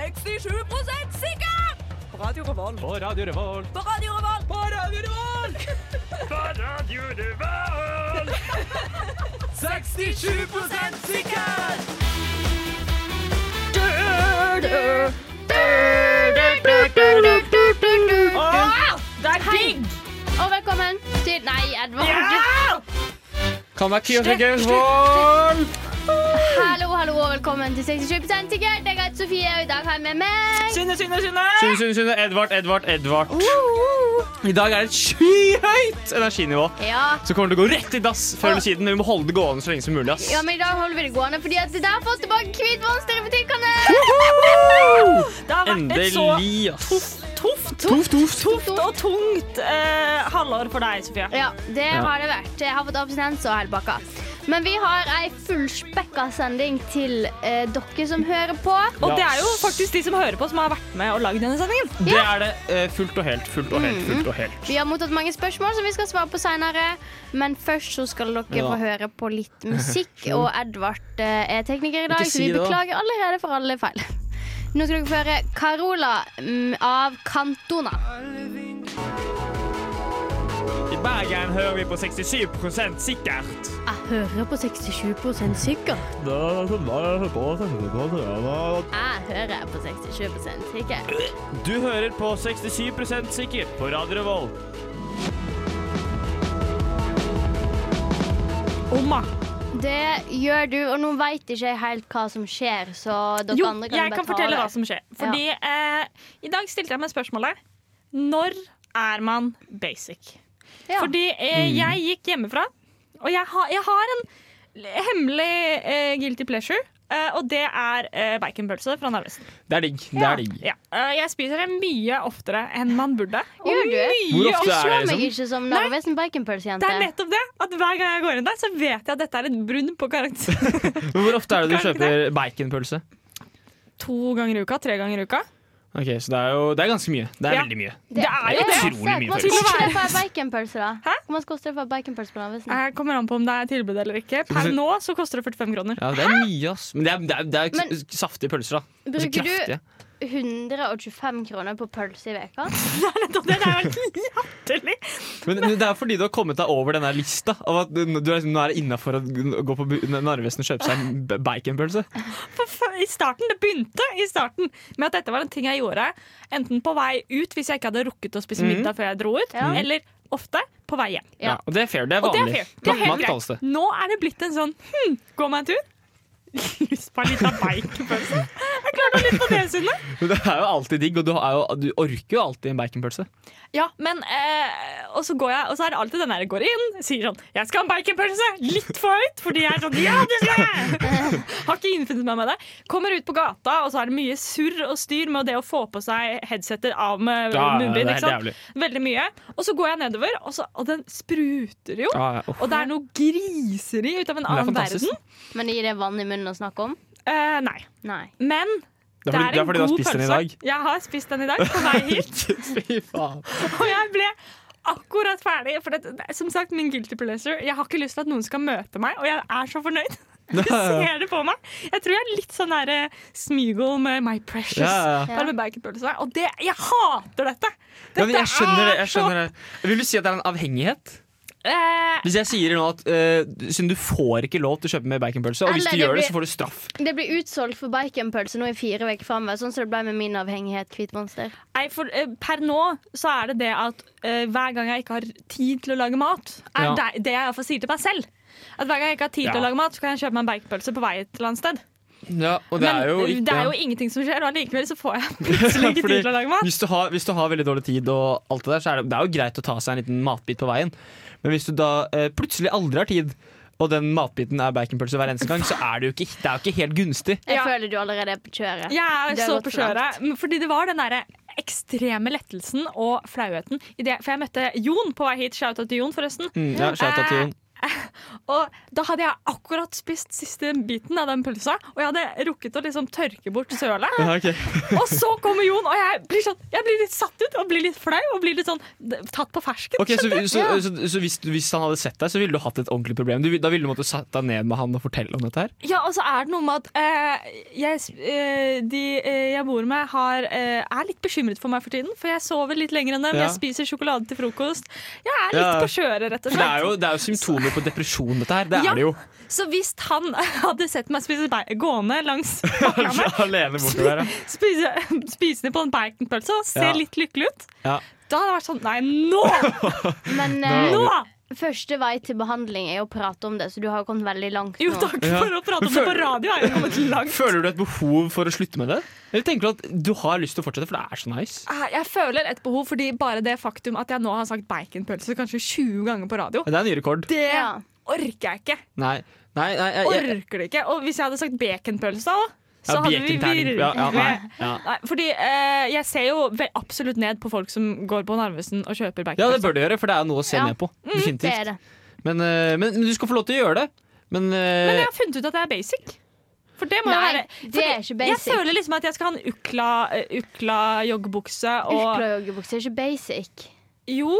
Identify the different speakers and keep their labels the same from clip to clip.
Speaker 1: 67 sikker! På Radio Revolt.
Speaker 2: På Radio Revolt.
Speaker 1: På Radio Revolt. På Radio Revolt.
Speaker 2: 67 sikker!
Speaker 1: Det er digg!
Speaker 3: Og velkommen til Nei, Edvard.
Speaker 2: Kan være Kyrre Gervold!
Speaker 3: Hallo, hallo, og velkommen til 67 sikkert. Jeg heter Sofie, og i dag har jeg med meg
Speaker 1: Synne, synne, synne!
Speaker 2: Sunne, Sunne, Sunne. Edvard, Edvard, Edvard. I dag er det et skyhøyt energinivå.
Speaker 3: Ja.
Speaker 2: Så kommer det til å gå rett i dass før eller siden. men Vi må holde det gående så lenge som mulig. ass.
Speaker 3: ja, men i dag holder vi det gående, fordi at det der får oss tilbake Hvit monster i butikkene.
Speaker 2: Woohoo!
Speaker 1: Det har vært et så
Speaker 2: Endelig, ass.
Speaker 1: tøft,
Speaker 2: Tuff, tuff.
Speaker 1: tøft og tungt eh, halvår for deg, Sofie.
Speaker 3: Ja, det
Speaker 2: Ja.
Speaker 3: har det vært. Jeg har fått abstinens og hele pakka. Men vi har ei fullspekka sending til eh, dere som hører på.
Speaker 1: Og det er jo faktisk de som hører på, som har vært med og lagd denne sendingen.
Speaker 2: Det er det eh, fullt og helt, fullt og
Speaker 1: Mm.
Speaker 2: helt, fullt og helt.
Speaker 3: Vi har mottatt mange spørsmål som vi skal svare på seinere. Men først så skal dere
Speaker 2: Ja.
Speaker 3: få høre på litt musikk. Og Edvard eh, er tekniker i dag,
Speaker 2: Ikke
Speaker 3: så
Speaker 2: si
Speaker 3: vi
Speaker 2: det, da.
Speaker 3: beklager allerede for alle feil. Nå skal dere få høre Carola mm, av Cantona.
Speaker 2: I Bergen hører vi på 67 sikkert.
Speaker 3: Jeg hører på 67 sikker. Jeg hører på 67 sikker.
Speaker 2: Du hører på 67 sikkert på Radio Revolt. Mm.
Speaker 1: Oma.
Speaker 3: Det gjør du, og nå veit ikke jeg helt hva som skjer, så dere
Speaker 1: Jo,
Speaker 3: andre kan
Speaker 1: jeg kan
Speaker 3: bare ta
Speaker 1: fortelle
Speaker 3: over.
Speaker 1: hva som skjer. Fordi eh, i dag stilte jeg meg spørsmålet Når er man basic?
Speaker 3: Ja.
Speaker 1: Fordi eh,
Speaker 2: Mm.
Speaker 1: jeg gikk hjemmefra, og jeg, har- jeg har en l- hemmelig eh, guilty pleasure. eh, og det er eh, baconpølse fra Narvesen.
Speaker 2: Det er digg. Det er digg.
Speaker 1: Ja. Eh, jeg spiser det mye oftere enn man burde. Og
Speaker 3: Gjør du?
Speaker 2: Hvor
Speaker 1: mye
Speaker 2: ofte
Speaker 1: oftere.
Speaker 2: er
Speaker 3: Slå
Speaker 2: det,
Speaker 3: meg
Speaker 2: liksom?
Speaker 3: ikke som
Speaker 1: Nei.
Speaker 3: Narvesen
Speaker 1: Det
Speaker 3: baconpølsejente.
Speaker 1: er nettopp det. At hver gang jeg går inn der, så vet jeg at dette er et brunn på karakter.
Speaker 2: Men Hvor ofte er det
Speaker 1: Kan
Speaker 2: du
Speaker 1: ikke
Speaker 2: kjøper baconpølse?
Speaker 1: to ganger i uka, tre ganger i uka.
Speaker 2: Ok, Så det er jo det er ganske mye. Det er
Speaker 1: Ja.
Speaker 2: veldig mye.
Speaker 1: Det er jo
Speaker 2: det.
Speaker 1: det.
Speaker 2: Utrolig mye
Speaker 3: Hva
Speaker 2: følelser.
Speaker 3: koster det for en baconpølse, da?
Speaker 1: Hæ?
Speaker 3: Hvor mye koster det for en baconpølse på Narvesen?
Speaker 1: Jeg kommer an på om det er tilbud eller ikke. Per nå så koster det 45 kroner.
Speaker 2: Ja, det er mye, ass. Men det er, det er, det er
Speaker 3: Men-
Speaker 2: s- saftige pølser, da. Altså,
Speaker 3: Bruker du-
Speaker 2: kraftige.
Speaker 3: 125 kroner på pølse i veka?
Speaker 1: Det er jo helt latterlig!
Speaker 2: Men det er fordi du har kommet deg over den der lista. Av at du du er, liksom- nå er innafor å gå på bu- Narvesen og kjøpe seg en b- baconpølse.
Speaker 1: For f- I starten, Det begynte i starten med at dette var en ting jeg gjorde enten på vei ut hvis jeg ikke hadde rukket å
Speaker 2: Mhm.
Speaker 1: spise middag før jeg dro ut,
Speaker 3: Ja.
Speaker 1: eller ofte på vei hjem.
Speaker 3: Ja.
Speaker 2: Ja. og det er fair. Det er
Speaker 1: Og det er
Speaker 2: vanlig.
Speaker 1: fair. Det er helt
Speaker 2: Nattmat kalles det.
Speaker 1: greit. Nå er det blitt en sånn hm, gå meg en tur. Lyst på en liten baconpølse. Jeg klarte litt på det, Sunne.
Speaker 2: Men Det er jo alltid digg, og du, har jo, du orker jo alltid en baconpølse.
Speaker 1: Ja, men eh, Og så går jeg, og så er det alltid den der jeg går inn sier sånn 'Jeg skal ha en baconpølse!' Litt for høyt, fordi jeg er sånn 'Ja, det skal jeg!' Har ikke innfunnet meg med det. Kommer ut på gata, og så er det mye surr og styr med det å få på seg headsetet av med
Speaker 2: Ja, ja, det
Speaker 1: munnbind.
Speaker 2: er
Speaker 1: ikke sant?
Speaker 2: helt
Speaker 1: Veldig mye. Og så går jeg nedover, og, så, og den spruter jo.
Speaker 2: Ah, ja. Uff.
Speaker 1: Og det er noe griseri ut av en
Speaker 2: er
Speaker 1: annen
Speaker 2: fantastisk.
Speaker 1: verden.
Speaker 3: Men det gir det vann i munnen å snakke om?
Speaker 1: Eh, nei.
Speaker 3: Nei.
Speaker 1: Men
Speaker 2: Det er fordi, det er
Speaker 1: en
Speaker 2: fordi du har
Speaker 1: god
Speaker 2: spist den i
Speaker 1: pølse.
Speaker 2: dag.
Speaker 1: Jeg har spist den i dag på vei hit.
Speaker 2: Fy faen.
Speaker 1: Og jeg ble akkurat ferdig. For det, det, er som sagt, min guilty pleasure. Jeg har ikke lyst til at noen skal møte meg, og jeg er så fornøyd. Du ser det på meg. Jeg tror jeg er litt sånn der, eh, Smeagol med My Precious.
Speaker 2: Ja, ja.
Speaker 1: Bare med baconpølse. Og det, jeg hater dette!
Speaker 2: Ja, men
Speaker 1: Dette
Speaker 2: jeg skjønner det.
Speaker 1: er
Speaker 2: Jeg skjønner det. Vil du si at det er en avhengighet?
Speaker 1: så- Eh,
Speaker 2: Hvis jeg sier nå at eh, siden du får ikke lov til å kjøpe mer baconpølse, og hvis
Speaker 3: Eller
Speaker 2: du
Speaker 3: det
Speaker 2: gjør det,
Speaker 3: blir-
Speaker 2: så får du straff.
Speaker 3: Det blir utsolgt for baconpølse nå i fire uker framover, sånn som det ble med min avhengighet Hvit monster.
Speaker 1: Nei, for eh, per nå så er det det at eh, hver gang jeg ikke har tid til å lage mat, er
Speaker 2: Ja.
Speaker 1: det, det jeg iallfall sier til meg selv. At hver gang jeg ikke har tid til
Speaker 2: Ja.
Speaker 1: å lage mat, så kan jeg kjøpe meg en baconpølse på vei et eller annet sted.
Speaker 2: Ja, og
Speaker 1: Men eh, det er jo ingenting som skjer, og allikevel så får jeg plutselig ikke tid til å lage mat.
Speaker 2: hvis, du har, hvis du har veldig dårlig tid, og alt det der, så er det, det er jo greit å ta seg en liten matbit på veien. Men hvis du da eh, plutselig aldri har tid, og den matbiten er baconpølse hver eneste gang, så er det jo ikke, det er jo ikke helt gunstig.
Speaker 3: Jeg
Speaker 1: Ja.
Speaker 3: føler du allerede er på
Speaker 1: Jeg
Speaker 3: kjøret. Det
Speaker 1: er
Speaker 3: har
Speaker 1: så
Speaker 3: gått
Speaker 1: på
Speaker 3: for langt.
Speaker 1: kjøret. men Fordi det var den derre ekstreme lettelsen og Mm. flauheten. I det, for jeg møtte Jon på vei hit. Shout-out til Jon, forresten.
Speaker 2: Mm, ja, shout out til Jon.
Speaker 1: Og da hadde jeg akkurat spist siste biten av den pølsa, og jeg hadde rukket å liksom tørke bort sølet.
Speaker 2: Ja, ok.
Speaker 1: Og så kommer Jon, og jeg blir, sånn, jeg blir litt satt ut og blir litt flau og blir litt sånn d- tatt på fersken.
Speaker 2: Ok, så,
Speaker 1: skjønner du?
Speaker 2: så, så, så, hvis, hvis han hadde sett deg, så ville du hatt et ordentlig problem. Du, vil- da ville du måtte satt deg ned med han og fortelle om dette her.
Speaker 1: Ja, og så er det noe med at eh, jeg, s- eh, de eh, jeg bor med, har, eh, er litt bekymret for meg for tiden. For jeg sover litt lenger enn dem,
Speaker 2: Ja.
Speaker 1: jeg spiser sjokolade til frokost. Jeg er litt
Speaker 2: Ja.
Speaker 1: på kjøret, rett og
Speaker 2: For det er
Speaker 1: slett.
Speaker 2: jo, det er jo symptomer på depresjon, dette her. Det er
Speaker 1: Ja.
Speaker 2: det jo.
Speaker 1: Så hvis han hadde sett meg spise bei- gående langs bakgrammet,
Speaker 2: Alene bortover. ja.
Speaker 1: spise, spisende på en baconpølse og se
Speaker 2: Ja.
Speaker 1: litt lykkelig ut,
Speaker 2: Ja.
Speaker 1: da hadde det vært sånn Nei, nå!
Speaker 3: Men
Speaker 2: Nei.
Speaker 3: eh,
Speaker 1: Nå!
Speaker 3: første vei til behandling er å prate om det, så du har kommet veldig langt
Speaker 1: Jo,
Speaker 3: nå.
Speaker 1: takk
Speaker 2: Ja.
Speaker 1: for å prate om det på radio. Er jo kommet langt.
Speaker 2: Føler du et behov for å slutte med det? Eller tenker du at du har lyst til å fortsette, for det er så nice?
Speaker 1: Eh, Jeg føler et behov fordi bare det faktum at jeg nå har sagt baconpølse kanskje 20 ganger på radio,
Speaker 2: Men det er en ny rekord.
Speaker 1: det
Speaker 3: Ja.
Speaker 1: orker jeg ikke.
Speaker 2: Nei, nei, nei jeg, jeg,
Speaker 1: Orker det ikke. Og hvis jeg hadde sagt baconpølse, da, så
Speaker 2: ja,
Speaker 1: hadde vi
Speaker 2: bjekenterning. ja, ja, nei,
Speaker 1: virkelig
Speaker 2: ja.
Speaker 1: Nei, fordi eh, jeg ser jo ve- absolutt ned på folk som går på Narvesen og kjøper
Speaker 2: ja, det
Speaker 1: baconpølse.
Speaker 2: bør du gjøre, for det er noe å se
Speaker 3: Ja.
Speaker 2: ned på.
Speaker 3: Det
Speaker 2: Definitivt.
Speaker 3: er det.
Speaker 2: Men, eh, men, men du skal få lov til å gjøre det. Men,
Speaker 1: Men
Speaker 2: eh,
Speaker 1: jeg har funnet ut at det er basic. For det må jo
Speaker 3: Nei,
Speaker 1: være
Speaker 3: det er
Speaker 1: Jeg
Speaker 3: ikke basic.
Speaker 1: føler liksom at jeg skal ha en ukla, eh, ukla joggebukse og
Speaker 3: Ukla-joggebukse er ikke basic.
Speaker 1: Jo,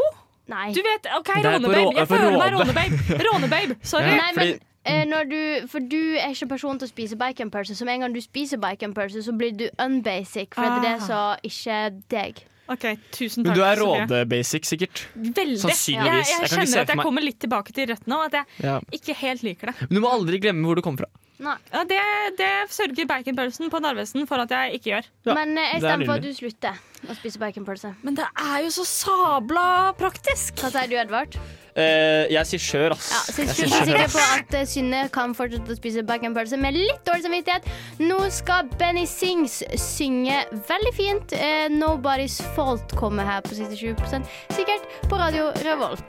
Speaker 3: Nei.
Speaker 1: du vet OK,
Speaker 2: Det er på rå-
Speaker 1: rånebabe. Jeg
Speaker 2: på
Speaker 1: føler meg
Speaker 2: råde.
Speaker 1: rånebabe. Rånebabe, sorry.
Speaker 2: Ja.
Speaker 3: Nei, men eh, når du, For du er ikke person til å spise baconpølse. Så med en gang du spiser baconpølse, så blir du unbasic, for det er det som ikke er deg.
Speaker 1: OK, tusen
Speaker 2: men
Speaker 1: takk.
Speaker 2: du er
Speaker 1: Sofie.
Speaker 2: råde-basic, sikkert.
Speaker 1: Veldig. Jeg,
Speaker 2: Sannsynligvis.
Speaker 1: jeg,
Speaker 2: Jeg kan ikke se
Speaker 1: kjenner
Speaker 2: for
Speaker 1: at jeg
Speaker 2: meg-
Speaker 1: kommer litt tilbake til røttene, og at jeg
Speaker 2: Ja.
Speaker 1: ikke helt liker det.
Speaker 2: Men du må aldri glemme hvor du kommer fra.
Speaker 3: Nei.
Speaker 1: Ja, det, det sørger baconpølsen på Narvesen for at jeg ikke gjør.
Speaker 2: Ja,
Speaker 3: Men eh, jeg
Speaker 2: det er
Speaker 3: stemmer for at
Speaker 2: nydelig.
Speaker 3: du slutter å spise baconpølse.
Speaker 1: Men det er jo så sabla praktisk!
Speaker 3: Hva sier du, Edvard?
Speaker 2: Eh, jeg sier skjør, ass.
Speaker 3: Ja, så jeg
Speaker 2: Jeg sier
Speaker 3: er
Speaker 2: skjør,
Speaker 3: sikker
Speaker 2: ass.
Speaker 3: på at eh, Synne kan fortsette å spise baconpølse med litt dårlig samvittighet. Nå skal Benny Sings synge veldig fint. Eh, 'Nobody's Fault' kommer her på 67 sikkert på Radio Revolt.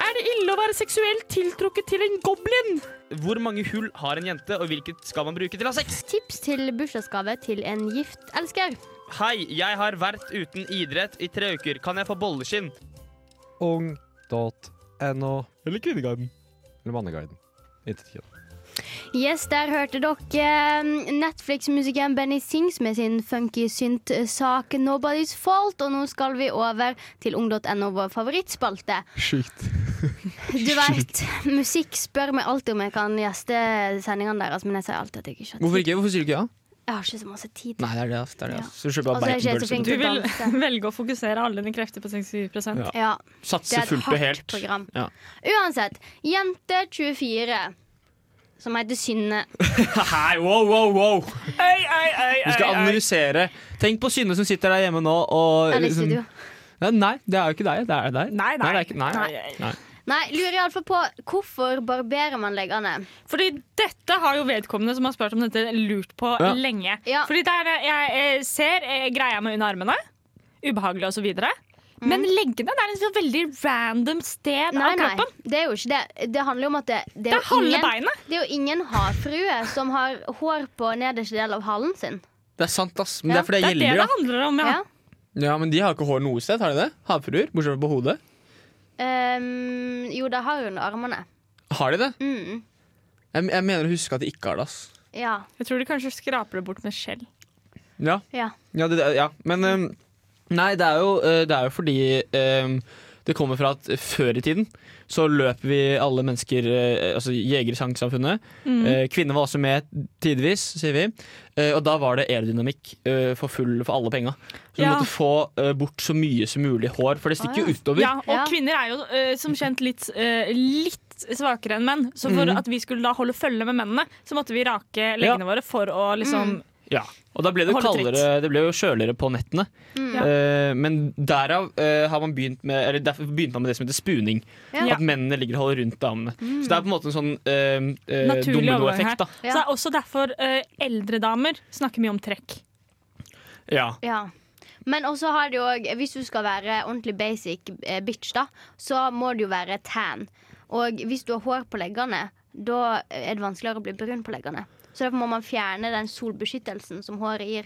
Speaker 1: Er det ille å være seksuelt tiltrukket til en goblin?
Speaker 2: Hvor mange hull har en jente, og hvilket skal man bruke til å ha sex?
Speaker 3: Tips til bursdagsgave til en gift elsker.
Speaker 2: Hei, jeg har vært uten idrett i tre uker. Kan jeg få bolleskinn?
Speaker 4: ung.no.
Speaker 2: Eller Kvinneguiden.
Speaker 4: Eller Manneguiden. Intet kjønn.
Speaker 3: Yes, der hørte dere um, Netflix-musikeren Benny Sings med sin funky synt-sak 'Nobody's Fault'. Og nå skal vi over til ung.no, vår favorittspalte.
Speaker 2: Sjukt.
Speaker 3: Du veit, musikk spør meg alltid om jeg kan gjeste sendingene deres, men jeg sier alltid at jeg ikke har
Speaker 2: Hvorfor
Speaker 3: tid.
Speaker 2: ikke? Hvorfor sier du ikke ja?
Speaker 3: Jeg har ikke så masse tid.
Speaker 2: Nei, det er det. ass. det, er det ass. Så kjøper
Speaker 3: Og så er Altså,
Speaker 2: jeg
Speaker 3: jeg ikke helt så
Speaker 2: baconpølse.
Speaker 3: flink
Speaker 1: Du
Speaker 3: til å
Speaker 1: vil
Speaker 3: danse.
Speaker 1: velge å fokusere alle dine krefter på 67
Speaker 2: Ja.
Speaker 3: Ja, det
Speaker 2: Satser
Speaker 3: er et
Speaker 2: fullt og
Speaker 3: hardt
Speaker 2: helt.
Speaker 3: program.
Speaker 2: Ja.
Speaker 3: Uansett. Jente 24, som heter Synne.
Speaker 2: Hei, wow, wow, wow!
Speaker 1: Øy, øy, øy,
Speaker 2: Vi skal analysere. Tenk på Synne som sitter der hjemme nå og
Speaker 3: Eller i
Speaker 2: liksom-
Speaker 3: studio.
Speaker 2: Ja, Nei, det er jo ikke deg. Det er deg.
Speaker 1: Nei, nei.
Speaker 2: nei. det er ikke, nei.
Speaker 1: Nei.
Speaker 2: nei.
Speaker 3: Nei, lurer iallfall på hvorfor barberer man leggene?
Speaker 1: Fordi dette har jo vedkommende som har spurt om dette, lurt på
Speaker 2: Ja.
Speaker 1: lenge.
Speaker 3: Ja.
Speaker 1: Fordi det er det jeg eh, ser eh, greia med under armene. Ubehagelig osv. videre Men leggene det er et sånn veldig random sted
Speaker 3: Nei,
Speaker 1: av
Speaker 3: nei,
Speaker 1: kroppen.
Speaker 3: det er jo ikke det. Det handler jo om at det, det,
Speaker 1: Det
Speaker 3: er,
Speaker 1: er
Speaker 3: jo
Speaker 1: halve
Speaker 3: ingen,
Speaker 1: beinet.
Speaker 3: det er jo ingen havfrue som har hår på nederste del av halen sin.
Speaker 2: Det er sant, ass. Men det
Speaker 3: Ja,
Speaker 2: er fordi
Speaker 1: Det er
Speaker 2: det
Speaker 1: det
Speaker 2: gjelder,
Speaker 1: det
Speaker 2: ja.
Speaker 1: handler om. Ja.
Speaker 3: Ja.
Speaker 2: ja. Men de har ikke hår noe sted, har de det? Havfruer? Bortsett fra på hodet.
Speaker 3: Ehm, jo, det har hun under armene.
Speaker 2: Har de det?
Speaker 3: Mm,
Speaker 2: Jeg, jeg mener å huske at de ikke har det, ass.
Speaker 3: ja,
Speaker 1: Jeg tror de kanskje skraper det bort med skjell.
Speaker 2: Ja.
Speaker 3: ja.
Speaker 2: Ja, det, det- ja. men ehm, Nei, det er jo, eh, det er jo fordi ehm, det kommer fra at før i tiden så løp vi alle mennesker eh, Altså Jegersangsamfunnet.
Speaker 1: Mm.
Speaker 2: Eh, Kvinner var også med tidvis, sier vi. Eh, Og da var det aerodynamikk eh, for full for alle penga. Så du
Speaker 1: Ja.
Speaker 2: måtte få eh, bort så mye som mulig hår, for det stikker
Speaker 3: Ah, ja.
Speaker 2: jo utover.
Speaker 1: Ja, og
Speaker 3: Ja.
Speaker 1: kvinner er jo eh, som kjent litt, eh, litt svakere enn menn. Så
Speaker 2: Mhm.
Speaker 1: for at vi skulle da holde følge med mennene, så måtte vi rake leggene våre for å liksom
Speaker 3: Mm.
Speaker 2: Ja, og da ble det jo
Speaker 1: Holde tritt. Mm.
Speaker 2: kaldere, det ble jo kjøligere på nettene.
Speaker 1: Ja.
Speaker 2: Eh, men derav eh, har man begynt med Eller derfor begynte man med det som heter spuning.
Speaker 3: Ja.
Speaker 2: At mennene ligger og holder rundt damene. Så det er på en måte en sånn eh,
Speaker 1: Mm.
Speaker 2: eh,
Speaker 1: Naturlig overgang her.
Speaker 2: dominoeffekt. da.
Speaker 1: Så det er også derfor eh, eldre damer snakker mye om trekk.
Speaker 2: Ja.
Speaker 3: ja. Men også har det jo òg Hvis du skal være ordentlig basic eh, bitch, da, så må du jo være tan. Og hvis du har hår på leggene, da er det vanskeligere å bli brun på leggene. Så derfor må man fjerne den solbeskyttelsen som håret gir.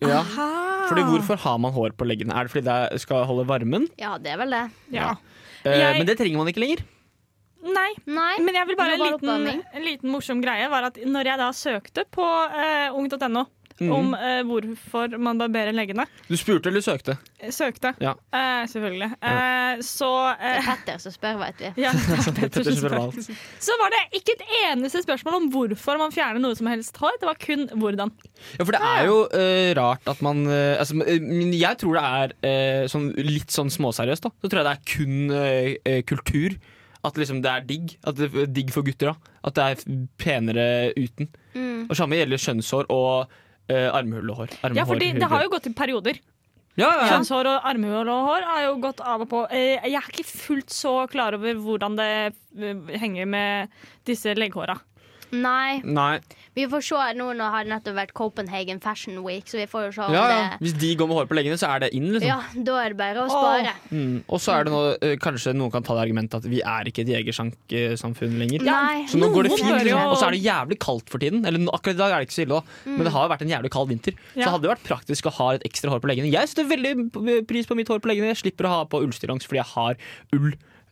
Speaker 2: Ja.
Speaker 1: Aha.
Speaker 2: Fordi hvorfor har man hår på leggene? Er det fordi det skal holde varmen?
Speaker 3: Ja, det er vel det.
Speaker 1: Ja.
Speaker 2: Eh,
Speaker 1: Jeg-
Speaker 2: Men det trenger man ikke lenger.
Speaker 1: Nei,
Speaker 3: Nei.
Speaker 1: men jeg vil bare en
Speaker 3: Global
Speaker 1: liten,
Speaker 3: oppvarming.
Speaker 1: en liten morsom greie var at når jeg da søkte på eh, ung.no
Speaker 2: Mhm.
Speaker 1: om eh, hvorfor man barberer leggene,
Speaker 2: Mm. Du spurte eller søkte?
Speaker 1: eh, søkte
Speaker 2: Ja.
Speaker 1: eh, selvfølgelig, eh, så
Speaker 3: Det
Speaker 1: eh,
Speaker 3: er Petter som spør, vet vi.
Speaker 1: ja, det er
Speaker 2: Petter
Speaker 1: Pettersen
Speaker 2: spør
Speaker 1: spør.
Speaker 2: alt.
Speaker 1: Så var det ikke et eneste spørsmål om hvorfor man fjerner noe som helst hår. Det var kun hvordan.
Speaker 2: Ja, for det er jo eh, rart at man eh, altså, men, eh, Men jeg tror det er eh, sånn, litt sånn småseriøst, da. Så tror jeg det er kun eh, eh, kultur. At liksom det er digg. At det er digg for gutter, da. At det er penere uten.
Speaker 3: Mm.
Speaker 2: Og samme gjelder skjønnshår og eh, armhull og hår. Armhår,
Speaker 1: Ja, fordi det har jo gått i perioder.
Speaker 2: ja, ja, ja.
Speaker 1: Kjønnshår og armhull og hår har jo gått av og på. Eh, Jeg er ikke fullt så klar over hvordan det eh, henger med disse legghåra.
Speaker 3: Nei.
Speaker 2: Nei.
Speaker 3: Vi får se nå nå har det nettopp vært Copenhagen Fashion Week, så vi får jo se om
Speaker 2: Ja, ja. Hvis de går med hår på leggene, så er det in,
Speaker 3: det
Speaker 2: liksom.
Speaker 3: Ja, da er det bare å spare.
Speaker 2: Mm. Og så er det noe, eh, kanskje noen kan ta det argumentet at vi er ikke et jegersank-samfunn lenger.
Speaker 3: Nei.
Speaker 2: Så nå går det
Speaker 1: Noen
Speaker 2: fint,
Speaker 1: bør
Speaker 2: liksom.
Speaker 1: jo- Mm.
Speaker 2: Og så er det jævlig kaldt for tiden. Eller nå- akkurat i dag er det ikke så ille, da. Men det har jo vært en jævlig kald vinter. Så
Speaker 1: Ja.
Speaker 2: det hadde jo vært praktisk å ha et ekstra hår på leggene. Jeg setter veldig p- pris på mitt hår på leggene. Jeg slipper å ha på ullstillongs fordi jeg har ull eh,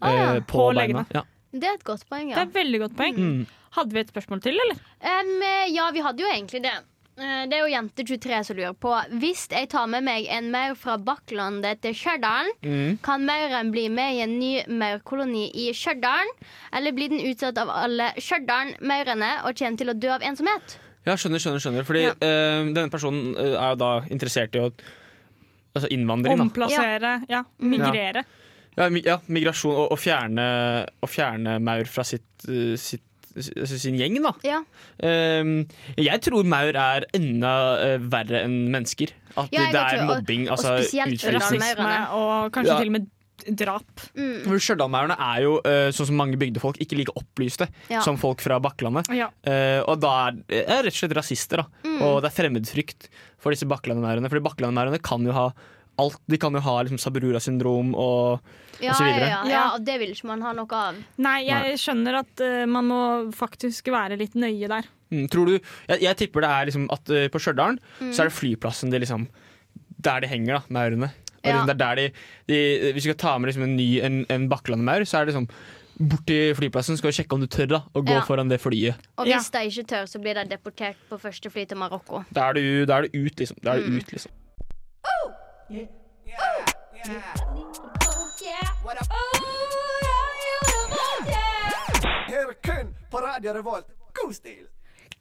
Speaker 3: Ah, ja.
Speaker 2: på,
Speaker 1: På
Speaker 2: beina.
Speaker 1: leggene.
Speaker 2: Ja.
Speaker 3: Det er et godt poeng,
Speaker 1: Det
Speaker 3: ja.
Speaker 1: er et veldig godt poeng.
Speaker 2: Mm.
Speaker 1: Hadde vi et spørsmål til, eller?
Speaker 3: Em, eh, ja, vi hadde jo egentlig det. Eh, Det er jo jente23 som lurer på Hvis jeg tar med meg en maur fra Bakklandet til Stjørdal,
Speaker 2: Mm.
Speaker 3: kan mauren bli med i en ny maurkoloni i Stjørdal? Eller blir den utsatt av alle Stjørdal-maurene og kommer til å dø av ensomhet?
Speaker 2: Ja, skjønner, skjønner. skjønner Fordi
Speaker 3: Ja.
Speaker 2: eh, denne personen eh, er jo da interessert i å Altså innvandring, da.
Speaker 1: Omplassere, ja. Mm. Migrere.
Speaker 2: Ja, mi- ja migrasjon. Og, og, fjerne, og fjerne maur fra sitt, eh, sitt altså sin gjeng, da.
Speaker 3: Ja,
Speaker 2: Ehm, jeg tror maur er enda eh, verre enn mennesker. At
Speaker 3: Ja, jeg
Speaker 2: det
Speaker 3: tror-
Speaker 2: er
Speaker 3: og-
Speaker 2: mobbing.
Speaker 3: og
Speaker 2: altså
Speaker 3: spesielt
Speaker 2: utfrysing.
Speaker 3: Rasisme
Speaker 1: Rasisme og kanskje
Speaker 2: Ja.
Speaker 1: til og med drap.
Speaker 3: mm.
Speaker 2: For Stjørdalmaurene er jo, eh, sånn som mange bygdefolk, ikke like opplyste
Speaker 3: Ja.
Speaker 2: som folk fra Bakklandet.
Speaker 1: Ja.
Speaker 2: Eh, og da er det er rett og slett rasister, da.
Speaker 3: Mm.
Speaker 2: Og det er fremmedfrykt for disse Bakklandmaurene. Fordi Bakklandmaurene kan jo ha alt. De kan jo ha liksom, Saberura-syndrom og
Speaker 3: ja,
Speaker 2: Og så
Speaker 3: ja,
Speaker 2: videre.
Speaker 3: ja, ja,
Speaker 1: Ja.
Speaker 3: og det vil ikke man ha noe av.
Speaker 1: Nei, jeg skjønner at eh, man må faktisk være litt nøye der.
Speaker 2: mm, Tror du Jeg, jeg tipper det er liksom at eh, på Stjørdal
Speaker 3: Mm.
Speaker 2: så er det flyplassen det liksom Der de henger, da, maurene. Og
Speaker 3: Ja.
Speaker 2: liksom, det er der de, de Hvis vi skal ta med liksom, en ny en, en Bakklandmaur, så er det liksom Bort til flyplassen skal vi sjekke om du tør da å gå
Speaker 3: Ja.
Speaker 2: foran det flyet.
Speaker 3: Og
Speaker 1: Ja.
Speaker 3: hvis de ikke tør, så blir de deportert på første fly til Marokko.
Speaker 2: Da er du, da er du ut, liksom. Da er
Speaker 3: Mm.
Speaker 2: du ut, liksom.
Speaker 5: Her kun på Radio Revolt. God stil!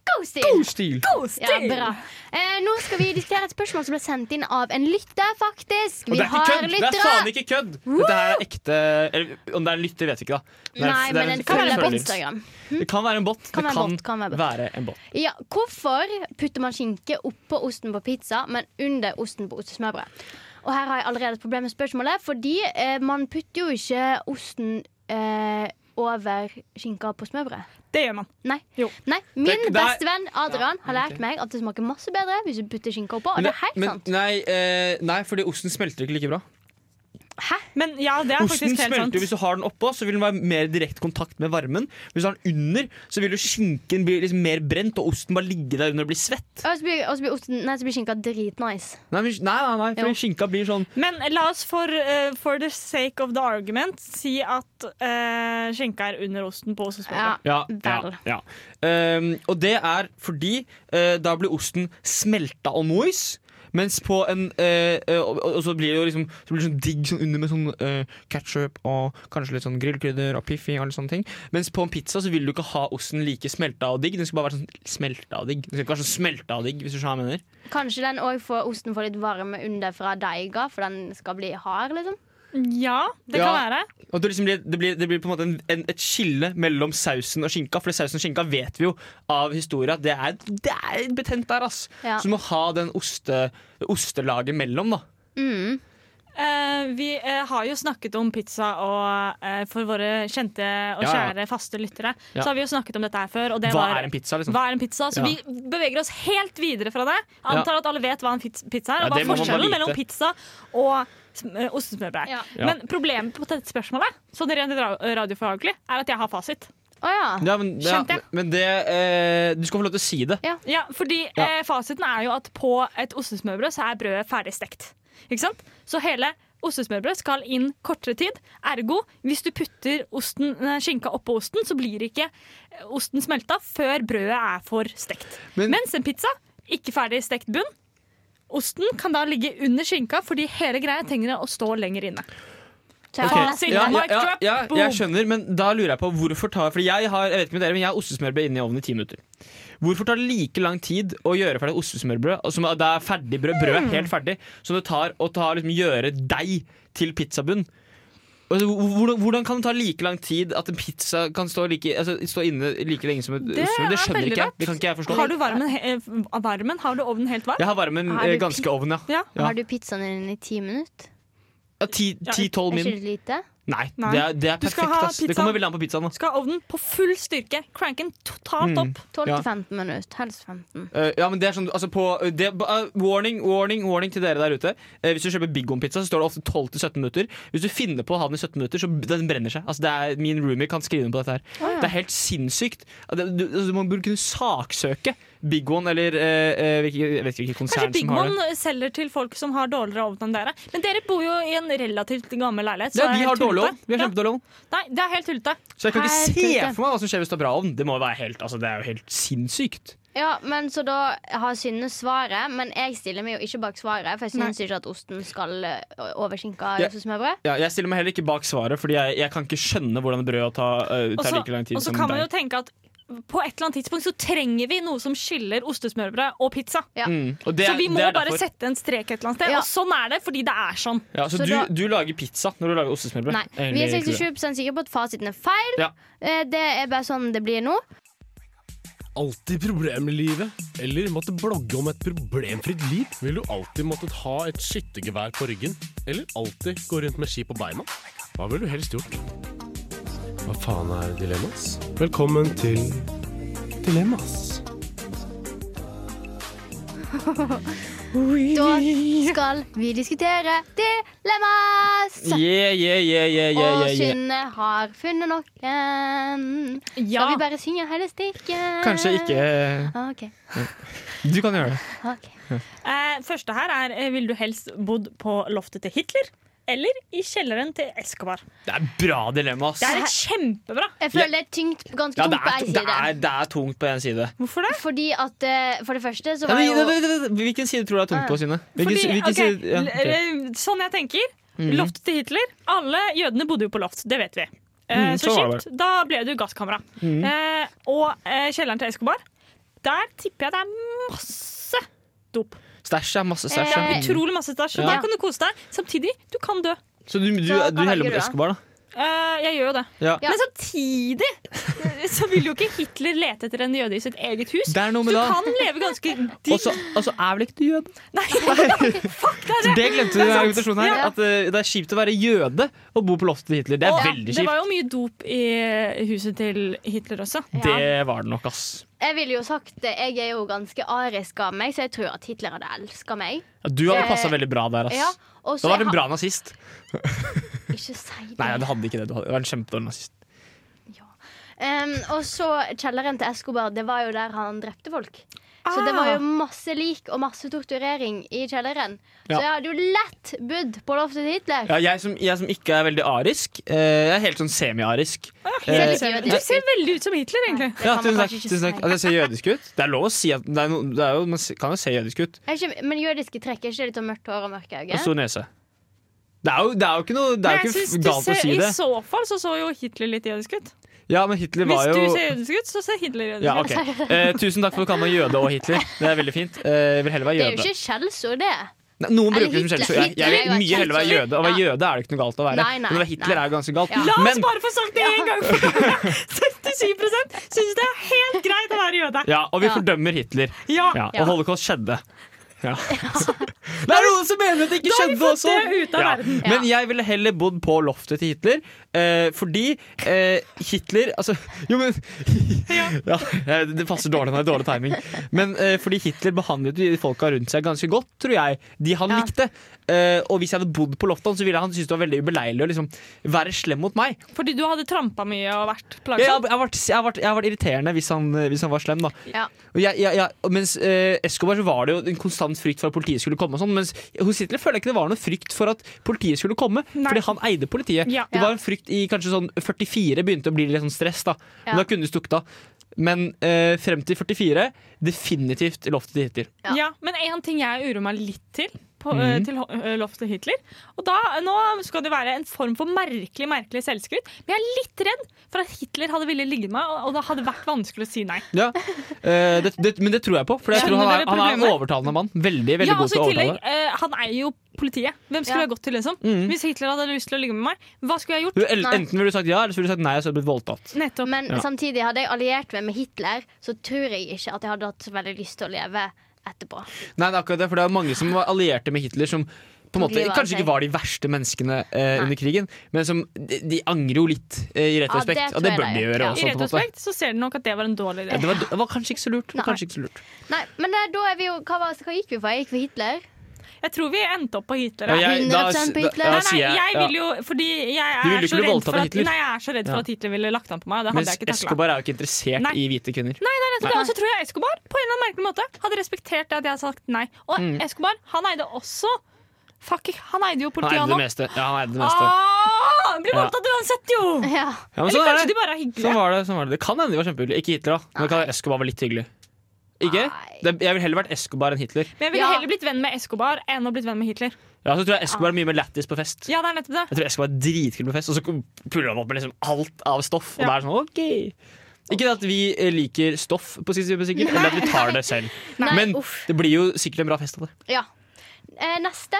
Speaker 3: God stil!
Speaker 2: Stil.
Speaker 3: Ja, bra. Eh, nå skal vi diskutere et spørsmål som ble sendt inn av en lytter, faktisk.
Speaker 2: Og
Speaker 3: Vi
Speaker 2: det er ikke
Speaker 3: har
Speaker 2: kødd! Det er faen
Speaker 3: lyttere!
Speaker 2: ikke kødd! Dette her er ekte eller, Om det er en lytter, vet jeg ikke, da. Det er-
Speaker 3: Nei,
Speaker 2: det er
Speaker 3: men en
Speaker 2: det kan være
Speaker 3: følger på
Speaker 2: følger.
Speaker 3: Instagram.
Speaker 2: Det kan være en bot.
Speaker 3: Kan
Speaker 2: det
Speaker 3: være
Speaker 2: kan,
Speaker 3: bot, kan være bot.
Speaker 2: være en bot.
Speaker 3: Ja, hvorfor putter man skinke oppå osten på pizza, men under osten på ostesmørbrød? Og her har jeg allerede et problem med spørsmålet, fordi eh, man putter jo ikke osten eh, over skinka på smørbrødet.
Speaker 1: Det gjør man.
Speaker 3: Nei.
Speaker 1: Jo.
Speaker 3: Nei. Min
Speaker 2: Det- det er-
Speaker 3: beste venn Adrian
Speaker 2: Ja,
Speaker 3: har lært
Speaker 2: ok.
Speaker 3: meg at det smaker masse bedre hvis du putter skinka oppå. Og det er helt sant.
Speaker 2: Nei, fordi osten smelter ikke like bra.
Speaker 1: Men ja, det er
Speaker 2: Osten
Speaker 1: faktisk helt sant.
Speaker 2: smelter Hvis du har den oppå, så vil den være mer direkte kontakt med varmen. Hvis du har den under, så vil jo skinken bli liksom mer brent, og osten bare ligge der under og bli svett.
Speaker 3: Og så blir, og så blir, osten, nei, så blir skinka dritnice.
Speaker 2: Nei, men- nei, nei, nei
Speaker 3: Jo.
Speaker 2: fordi skinka blir sånn
Speaker 1: Men la oss for, eh, for the sake of the argument si at eh, skinka er under osten på
Speaker 3: Ja.
Speaker 1: ostesmørbrød.
Speaker 2: Ja,
Speaker 3: Vel.
Speaker 2: ja, ja. Um, og det er fordi eh, da blir osten smelta og mois. Mens på en eh, eh, og, og og så blir det jo liksom Så blir det sånn digg sånn under med sånn uh, ketsjup og kanskje litt sånn grillkrydder og piffi. Og litt sånne ting Mens på en pizza så vil du ikke ha osten like smelta og digg. Den skal bare være sånn smelta og digg. Den skal ikke være sånn smelta og digg, hvis du skjønner hva jeg mener.
Speaker 3: Kanskje den òg får osten får litt varme under fra deiga, for den skal bli hard, liksom.
Speaker 1: Ja, det
Speaker 2: Ja.
Speaker 1: kan være.
Speaker 2: Og det, liksom blir, det, blir, det blir på en måte en, en, et skille mellom sausen og skinka. For sausen og skinka vet vi jo av historia at det er, det er betent der, ass.
Speaker 3: Ja.
Speaker 2: Så du må ha den oste, ostelaget mellom, da.
Speaker 3: Mm.
Speaker 1: Eh, vi eh, har jo snakket om pizza og eh, for våre kjente og
Speaker 2: Ja, ja.
Speaker 1: kjære faste lyttere.
Speaker 2: Ja.
Speaker 1: Så har vi jo snakket om dette her før. Og det
Speaker 2: Hva
Speaker 1: var,
Speaker 2: er en pizza, liksom?
Speaker 1: Hva er en pizza? Så
Speaker 2: Ja.
Speaker 1: vi beveger oss helt videre fra det. Antar at alle vet hva en piz- pizza er,
Speaker 2: Ja,
Speaker 1: og hva
Speaker 2: det
Speaker 1: er
Speaker 2: må man bare
Speaker 1: forskjellen
Speaker 2: vite.
Speaker 1: mellom pizza og sm- eh, ostesmørbrød er.
Speaker 3: Ja.
Speaker 2: Ja.
Speaker 1: Men problemet på dette spørsmålet sånn rent ra- radiofaglig, er at jeg har fasit.
Speaker 3: Å ja.
Speaker 2: Ja, men, ja,
Speaker 1: Skjønte jeg.
Speaker 2: men det eh, Du skal få lov til å si det.
Speaker 1: Ja, fordi
Speaker 2: Ja.
Speaker 1: Eh, fasiten er jo at på et ostesmørbrød så er brødet ferdig stekt. Ikke sant? Så hele ostesmørbrød skal inn kortere tid. Ergo, hvis du putter osten, nei, skinka oppå osten, så blir ikke eh, osten smelta før brødet er for stekt.
Speaker 2: Men-
Speaker 1: Mens en pizza, ikke ferdig stekt bunn. Osten kan da ligge under skinka fordi hele greia trenger å stå lenger inne.
Speaker 3: Så jeg
Speaker 2: Ok,
Speaker 3: har nesten
Speaker 2: ja,
Speaker 1: Mic
Speaker 2: ja, ja,
Speaker 1: drop,
Speaker 2: ja,
Speaker 1: boom.
Speaker 2: jeg skjønner, men da lurer jeg på hvorfor tar Fordi jeg har jeg vet ikke med dere, men jeg har ostesmørbrød inne i ovnen i ti minutter. Hvorfor tar det like lang tid å gjøre ferdig ostesmørbrød som det er ferdig brød, brød
Speaker 1: Mm.
Speaker 2: er helt ferdig, som det tar å ta, liksom, gjøre deig til pizzabunn? Altså, hvor- hvordan, hvordan kan det ta like lang tid at en pizza kan stå, like, altså, stå inne like lenge som et
Speaker 1: Det
Speaker 2: ostesmørbrød? Det
Speaker 1: er
Speaker 2: skjønner
Speaker 1: veldig
Speaker 2: ikke jeg.
Speaker 1: rart.
Speaker 2: Det kan ikke jeg forstå.
Speaker 1: Har du varmen, he- eh, varmen? Har du ovnen helt varm?
Speaker 2: Jeg har varmen
Speaker 3: Har du
Speaker 2: eh, ganske
Speaker 3: pi-
Speaker 2: ovn, ja.
Speaker 1: Ja.
Speaker 2: ja.
Speaker 3: Har du pizzaen din i ti minutter?
Speaker 2: ja Ti-tolv
Speaker 3: Er ikke
Speaker 2: min.
Speaker 3: det lite?
Speaker 2: Nei,
Speaker 1: Nei.
Speaker 2: det er, det er
Speaker 1: Du skal
Speaker 2: perfekt.
Speaker 1: ha
Speaker 2: Ass. Det
Speaker 1: pizzaen.
Speaker 2: kommer veldig an på pizzaen. Da.
Speaker 1: Skal ha ovnen på full styrke. Cranken totalt
Speaker 2: Mm.
Speaker 1: opp.
Speaker 3: 12
Speaker 2: Ja.
Speaker 3: til 15 minutter. Helst 15.
Speaker 2: Eh, ja, men det er sånn altså på, det, eh, Warning, warning, warning til dere der ute. Eh, hvis du kjøper Big One-pizza, så står det ofte 12-17 minutter. Hvis du finner på å ha den i 17 minutter, så b- den brenner seg. Altså, det er, min roomie kan skrive under på dette her. Det er helt sinnssykt. Ja, det- Du, altså, man burde kunne saksøke Big One eller eh, eh, hvilke, Jeg vet ikke
Speaker 1: Kanskje
Speaker 2: hvilket konsern
Speaker 1: Big
Speaker 2: som har det.
Speaker 1: One selger til folk som har dårligere ovn enn dere. Men dere bor jo i en relativt gammel leilighet. så
Speaker 2: Ja,
Speaker 1: det er
Speaker 2: vi
Speaker 1: helt
Speaker 2: har dårlig
Speaker 1: tullete.
Speaker 2: ovn. Vi har kjempedårlig ovn.
Speaker 1: Ja. Nei, det er helt tullete.
Speaker 2: Så jeg kan ikke
Speaker 3: Helt
Speaker 2: se
Speaker 3: tullete.
Speaker 2: for meg hva som skjer hvis det er bra ovn. Det må jo være helt, altså, det er jo helt sinnssykt.
Speaker 3: Ja, men Så da har Synne svaret, men jeg stiller meg jo ikke bak svaret. For jeg
Speaker 1: Nei.
Speaker 3: syns ikke at osten skal eh, over skinka
Speaker 2: Ja.
Speaker 3: i ostesmørbrød.
Speaker 2: Ja, jeg stiller meg heller ikke bak svaret, fordi jeg, jeg kan ikke skjønne hvordan brød tar, eh,
Speaker 1: Og
Speaker 2: tar
Speaker 1: så-
Speaker 2: like lang tid
Speaker 1: Og så
Speaker 2: som
Speaker 1: kan man jo
Speaker 2: deg.
Speaker 1: tenke at på et eller annet tidspunkt så trenger vi noe som skiller ostesmørbrød og pizza.
Speaker 3: Ja.
Speaker 2: Mm, og det-
Speaker 1: så vi
Speaker 2: det
Speaker 1: må
Speaker 2: er
Speaker 1: bare
Speaker 2: derfor.
Speaker 1: sette en strek et eller annet sted.
Speaker 3: Ja.
Speaker 1: Og sånn er det, fordi det er sånn.
Speaker 2: Ja, så
Speaker 3: Så
Speaker 2: du,
Speaker 3: da-
Speaker 2: du lager pizza når du lager ostesmørbrød?
Speaker 3: Nei.
Speaker 2: Egentlig
Speaker 3: Vi er
Speaker 2: ikke det.
Speaker 3: 67 sikre på at fasiten er feil.
Speaker 2: Ja.
Speaker 3: Eh, Det er bare sånn det blir nå.
Speaker 6: alltid problemer i livet? Eller måtte blogge om et problemfritt liv? Vil du alltid måttet ha et skyttergevær på ryggen? Eller alltid gå rundt med ski på beina? Hva ville du helst gjort? Hva faen er dilemmas? Velkommen til Dilemmas.
Speaker 3: Da skal vi diskutere dilemmas!
Speaker 2: Yeah, yeah, yeah, yeah, yeah,
Speaker 3: Og
Speaker 2: yeah, yeah.
Speaker 3: Synne har funnet noen.
Speaker 1: Ja.
Speaker 3: Skal vi bare synge hele stikken?
Speaker 2: Kanskje ikke eh,
Speaker 3: Ok,
Speaker 2: Du kan gjøre det.
Speaker 3: ok
Speaker 1: Eh, første her er eh, Vil du helst bodd på loftet til Hitler eller i kjelleren til Escobar?
Speaker 2: Det er bra dilemma, ass.
Speaker 1: Det er et kjempebra.
Speaker 3: Jeg føler det er tyngt, ganske
Speaker 2: ja,
Speaker 3: tungt
Speaker 2: det,
Speaker 3: på
Speaker 2: er,
Speaker 3: ei
Speaker 2: det,
Speaker 3: side.
Speaker 2: er, det er tungt på én side.
Speaker 1: Hvorfor det?
Speaker 3: Fordi at eh, For det første så
Speaker 2: Ja,
Speaker 3: var
Speaker 2: men,
Speaker 3: jo
Speaker 2: det- det- det- hvilken side tror du det er tungt på, Synne? Hvilken,
Speaker 1: Fordi,
Speaker 2: si- hvilken
Speaker 1: ok,
Speaker 2: side ja, ok. Mhm.
Speaker 1: l- eh, Sånn jeg tenker. Loftet til Hitler. Alle jødene bodde jo på loft, det vet vi. Eh,
Speaker 2: Mm,
Speaker 1: så
Speaker 2: sånn var Mhm.
Speaker 1: kjipt. Da ble det jo gasskamera. Eh, og eh, kjelleren til Escobar, der tipper jeg det er masse dop.
Speaker 2: Stæsj er masse stæsj. ja.
Speaker 3: Eh,
Speaker 1: Utrolig masse stæsj. Så
Speaker 2: Ja.
Speaker 1: Der kan du kose deg. Samtidig, du kan dø.
Speaker 2: Så du, du,
Speaker 3: Så
Speaker 2: du
Speaker 3: hva
Speaker 2: heller
Speaker 3: velger
Speaker 2: mot
Speaker 3: du, da?
Speaker 2: Escobar, da?
Speaker 1: Eh, jeg gjør jo det.
Speaker 2: Ja.
Speaker 3: Ja.
Speaker 1: Men samtidig eh, så vil jo ikke Hitler lete etter en jøde i sitt eget hus.
Speaker 2: Det er noe
Speaker 1: Du
Speaker 2: med det.
Speaker 1: kan leve ganske
Speaker 2: Og
Speaker 1: digg.
Speaker 2: så og så er vel ikke du jøde?
Speaker 1: Nei, fuck det!
Speaker 2: Det glemte du i argumentasjonen her.
Speaker 1: Ja.
Speaker 2: At eh, det er kjipt å være jøde og bo på loftet til Hitler. Det er
Speaker 1: Og
Speaker 2: veldig
Speaker 1: det
Speaker 2: kjipt.
Speaker 1: var jo mye dop i huset til Hitler også.
Speaker 3: ja.
Speaker 2: Det var det nok, ass.
Speaker 3: Jeg ville jo sagt det. Jeg er jo ganske arisk av meg, så jeg tror at Hitler hadde elska meg.
Speaker 2: Ja, Du hadde
Speaker 3: Eh,
Speaker 2: passa veldig bra der, ass.
Speaker 3: Ja, og
Speaker 2: Da
Speaker 3: så
Speaker 2: var du en
Speaker 3: jeg har-
Speaker 2: bra nazist.
Speaker 3: Ikke si det.
Speaker 2: Nei, du hadde ikke det. Du hadde. Det var en kjempedårlig nazist.
Speaker 3: Em, og så kjelleren til Escobar, det var jo der han drepte folk. Så det var
Speaker 2: Ah.
Speaker 3: jo masse lik og masse torturering i kjelleren.
Speaker 2: Ja.
Speaker 3: Så jeg hadde jo lett bodd på loftet til Hitler.
Speaker 2: Ja, jeg, som, jeg som ikke er veldig arisk, eh, jeg er helt sånn semi-arisk.
Speaker 3: ser
Speaker 2: Eh,
Speaker 3: litt jødisk
Speaker 1: Du ser veldig ut som Hitler, egentlig.
Speaker 2: ja,
Speaker 3: kan man
Speaker 2: tusen takk.
Speaker 3: kanskje ikke
Speaker 2: Tusen takk.
Speaker 3: si.
Speaker 2: At jeg ser jødisk ut? Det er lov å si at det er no, det er jo, Man se- kan jo se jødisk ut.
Speaker 3: Er ikke, men jødiske trekk er ikke litt sånn mørkt hår og mørke øyne?
Speaker 2: Og stor nese. Det er jo, det er jo ikke noe Det er
Speaker 1: Men
Speaker 2: jo
Speaker 1: jeg synes
Speaker 2: ikke
Speaker 1: du
Speaker 2: galt å
Speaker 1: ser-
Speaker 2: si det.
Speaker 1: I så fall så, så jo Hitler litt jødisk ut.
Speaker 2: Ja, men Hitler
Speaker 1: Hvis
Speaker 2: var jo
Speaker 1: du ser jødisk ut, så ser Hitler jødisk
Speaker 2: ja, ok. Eh, Tusen takk for at du kaller meg jøde og Hitler. Det er veldig fint. Eh, jeg vil heller
Speaker 3: Det
Speaker 2: være
Speaker 3: er jo
Speaker 2: jøde.
Speaker 3: ikke skjellsord, det.
Speaker 2: Nei, Noen
Speaker 3: Eller
Speaker 2: bruker det som
Speaker 3: Hitler.
Speaker 2: skjellsord. Jeg, jeg vil
Speaker 3: Hitler er jo
Speaker 2: mye heller være
Speaker 3: kjempestor.
Speaker 2: jøde. Å være
Speaker 3: Ja.
Speaker 2: jøde er det ikke noe galt å være.
Speaker 3: Nei, nei,
Speaker 2: Men å være Hitler
Speaker 3: nei.
Speaker 2: er jo ganske galt.
Speaker 3: Ja.
Speaker 1: ut. La oss
Speaker 2: Men
Speaker 1: bare få sagt det én gang for alle! 77 syns det er helt greit å være jøde.
Speaker 2: Ja, og vi
Speaker 3: Ja.
Speaker 2: fordømmer Hitler.
Speaker 1: Ja.
Speaker 2: Ja,
Speaker 3: Ja.
Speaker 2: og holocaust skjedde. Ja. Det er noen som mener at det ikke
Speaker 1: Da har vi
Speaker 2: skjedde
Speaker 1: fått
Speaker 2: også!
Speaker 1: det ut av verden.
Speaker 3: Ja.
Speaker 2: Men jeg ville heller bodd på loftet til Hitler, eh, fordi eh, Hitler Altså, jo, men ja, eh, Det passer dårlig når det er dårlig timing. Men eh, fordi Hitler behandlet de folka rundt seg ganske godt, tror jeg. De han
Speaker 3: Ja.
Speaker 2: likte. Eh, og hvis jeg hadde bodd på loftet, hans, så ville han synes det var veldig ubeleilig å liksom være slem mot meg.
Speaker 1: Fordi du hadde trampa mye og vært
Speaker 2: Jeg, jeg,
Speaker 1: plagsom.
Speaker 2: jeg, vært, jeg, har vært, jeg har vært irriterende hvis han, hvis han var slem, da.
Speaker 3: Ja.
Speaker 2: Og jeg, jeg, jeg, og mens eh, Escobar så var det jo en konstant frykt for at politiet skulle komme. Og sånn, mens hos Hitler føler jeg ikke det var noen frykt for at politiet skulle komme,
Speaker 1: Nei.
Speaker 2: fordi han eide politiet.
Speaker 1: Ja.
Speaker 2: Det
Speaker 3: Ja.
Speaker 2: var en frykt i kanskje sånn 44 begynte å bli litt sånn stress, da.
Speaker 3: Ja.
Speaker 2: Men da kunne du stukket av. Men eh, frem til 44 definitivt loftet til Hitler.
Speaker 1: Ja. men én ting jeg uroer meg litt til, på,
Speaker 2: Mhm.
Speaker 1: eh, til ho- eh, loftet Hitler Og da, Nå skal det være en form for merkelig merkelig selvskryt, men jeg er litt redd for at Hitler hadde ville ligge med meg, og- og det hadde vært vanskelig å si nei.
Speaker 2: Ja. Eh, det, det, men det tror jeg på, for jeg
Speaker 1: Skjønner
Speaker 2: tror han er,
Speaker 1: dere
Speaker 2: han er en
Speaker 1: problemet?
Speaker 2: overtalende mann. Veldig, veldig
Speaker 1: Ja,
Speaker 2: god
Speaker 1: altså
Speaker 2: til å
Speaker 1: i
Speaker 2: overtale.
Speaker 1: tillegg, eh, Han eier jo politiet. Hvem skulle
Speaker 3: Ja.
Speaker 1: jeg gått til? liksom?
Speaker 2: Mhm.
Speaker 1: Hvis Hitler hadde lyst til å ligge med meg, hva skulle jeg gjort?
Speaker 2: Du- el-
Speaker 3: Nei.
Speaker 2: Enten ville du sagt ja, eller så ville du sagt nei, og så hadde du blitt voldtatt.
Speaker 1: Nettopp.
Speaker 3: Men
Speaker 2: Ja.
Speaker 3: samtidig, hadde jeg alliert meg med Hitler, så tror jeg ikke at jeg hadde hatt så veldig lyst til å leve etterpå.
Speaker 2: Nei, det er akkurat det, for det er mange som var allierte med Hitler som på en
Speaker 3: Som
Speaker 2: måte,
Speaker 3: de var
Speaker 2: kanskje ikke
Speaker 3: seg.
Speaker 2: var de verste menneskene eh,
Speaker 3: Nei.
Speaker 2: under krigen, men som, de, de angrer jo litt eh, i retrospekt.
Speaker 3: det tror
Speaker 2: og det
Speaker 3: jeg
Speaker 2: bør de
Speaker 3: det er.
Speaker 2: gjøre
Speaker 3: Ja.
Speaker 2: også.
Speaker 1: I
Speaker 2: sånn på en måte.
Speaker 1: retrospekt så ser de nok at det var en dårlig idé.
Speaker 2: Ja, det, var, det var kanskje ikke så lurt. det var
Speaker 3: Nei.
Speaker 2: Kanskje ikke så lurt.
Speaker 3: Nei, men eh, da er vi jo Hva, var, hva gikk vi for? Jeg gikk for Hitler.
Speaker 1: Jeg tror vi endte opp på Hitler.
Speaker 2: Ja,
Speaker 1: ja.
Speaker 2: jeg-
Speaker 3: 100% på Hitler.
Speaker 2: da
Speaker 1: Nei,
Speaker 2: sier
Speaker 1: nei, jeg vil
Speaker 2: ja.
Speaker 1: jo Fordi jeg
Speaker 2: Du
Speaker 1: er,
Speaker 2: ville ikke
Speaker 1: så
Speaker 2: bli
Speaker 1: redd for
Speaker 2: voldtatt av
Speaker 1: at,
Speaker 2: Hitler?
Speaker 1: nei, jeg er så redd for
Speaker 2: Ja.
Speaker 1: at Hitler ville lagt an på meg. Det hadde
Speaker 2: Mens
Speaker 1: jeg ikke taklet.
Speaker 2: Escobar er jo ikke interessert
Speaker 1: Nei.
Speaker 2: i hvite kvinner.
Speaker 1: Nettopp, Og så altså, tror jeg Escobar på en eller annen merkelig måte hadde respektert det at jeg hadde sagt nei. Og Escobar han eide også Fuck, han eide jo
Speaker 2: Mm. Han
Speaker 1: politiet,
Speaker 2: eide
Speaker 1: han
Speaker 2: det
Speaker 1: òg.
Speaker 2: meste. Ja, han eide det meste.
Speaker 1: Ah, blir
Speaker 2: Ja.
Speaker 1: voldtatt uansett, jo!
Speaker 3: Ja.
Speaker 2: Ja,
Speaker 1: Eller
Speaker 2: men sånn er
Speaker 1: kanskje de
Speaker 2: det.
Speaker 1: bare er hyggelige.
Speaker 2: Sånn var det, sånn var det. det kan hende de var kjempehyggelige. Ikke Hitler, da. Men det kan hende Escobar var litt hyggelig. Ikke?
Speaker 3: Nei.
Speaker 2: Det, jeg ville heller vært Escobar enn Hitler.
Speaker 1: Men jeg ville
Speaker 3: Ja.
Speaker 1: heller blitt venn med Escobar enn å blitt venn med Hitler.
Speaker 2: Ja, så tror jeg Escobar er mye mer lættis på fest.
Speaker 1: Ja, det er nettopp det.
Speaker 2: Jeg tror jeg skal være dritkul på fest, og så puller han opp med liksom alt av stoff. Og
Speaker 1: Ja.
Speaker 2: det er sånn, ok Ikke det at vi eh, liker stoff, på sitt side, sikkert, eller at vi tar det selv.
Speaker 3: Nei,
Speaker 2: Men
Speaker 3: uff.
Speaker 2: det blir jo sikkert en bra fest av det.
Speaker 3: ja. Eh, neste.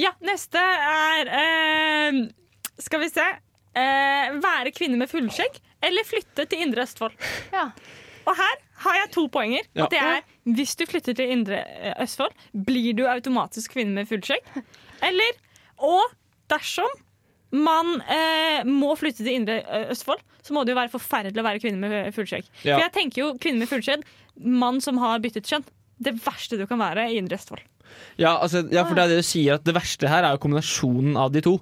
Speaker 1: Ja, neste er eh, Skal vi se. Eh, være kvinne med fullskjegg eller flytte til Indre Østfold.
Speaker 3: Ja.
Speaker 1: Og her har jeg to poenger.
Speaker 2: Ja.
Speaker 1: Og det er hvis du flytter til Indre eh, Østfold, blir du automatisk kvinne med fullskjegg. Eller og dersom man eh, må flytte til Indre eh, Østfold, så må det jo være forferdelig å være kvinne med fullskjegg.
Speaker 2: Ja.
Speaker 1: For jeg tenker jo kvinne med fullskjegg, mann som har byttet kjønn. Det verste du kan være i Indre Østfold.
Speaker 2: Ja, altså, ja, for det er det du sier, at det verste her er jo kombinasjonen av de to.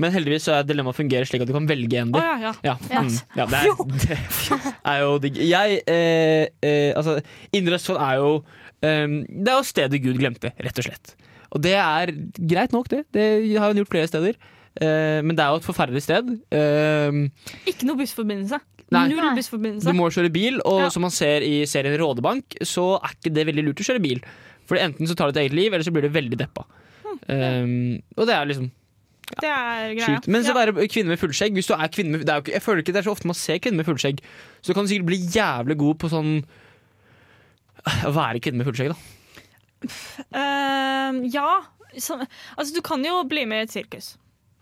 Speaker 2: Men heldigvis så er dilemmaet fungerer slik at du kan velge en
Speaker 1: Å
Speaker 2: del.
Speaker 1: ja, ja.
Speaker 2: Ja,
Speaker 3: Ja.
Speaker 2: mm, ja det, er, det er jo digg. Jeg eh, eh, Altså, Indre Østfold er jo eh, Det er jo stedet Gud glemte, rett og slett. Og det er greit nok, det. Det har hun gjort flere steder. Eh, men det er jo et forferdelig sted. Eh,
Speaker 1: Ikke noe bussforbindelse.
Speaker 2: Nei.
Speaker 1: Null
Speaker 3: Nei.
Speaker 2: du
Speaker 1: bussforbindelse.
Speaker 2: må kjøre bil, og
Speaker 1: Ja.
Speaker 2: som man ser i serien Rådebank, så er ikke det veldig lurt å kjøre bil. For enten så tar du ditt eget liv, eller så blir du veldig deppa. Eh, og det er liksom
Speaker 1: Det er greia.
Speaker 2: Shoot. Men så
Speaker 1: Ja.
Speaker 2: være kvinne med fullskjegg hvis du er kvinne med, det er jo ikke, Jeg føler ikke det er så ofte man ser kvinner med fullskjegg. Så du kan sikkert bli jævlig god på sånn Å være kvinne med fullskjegg, da.
Speaker 1: Ehm, ja. Som, altså, du kan jo bli med i et sirkus.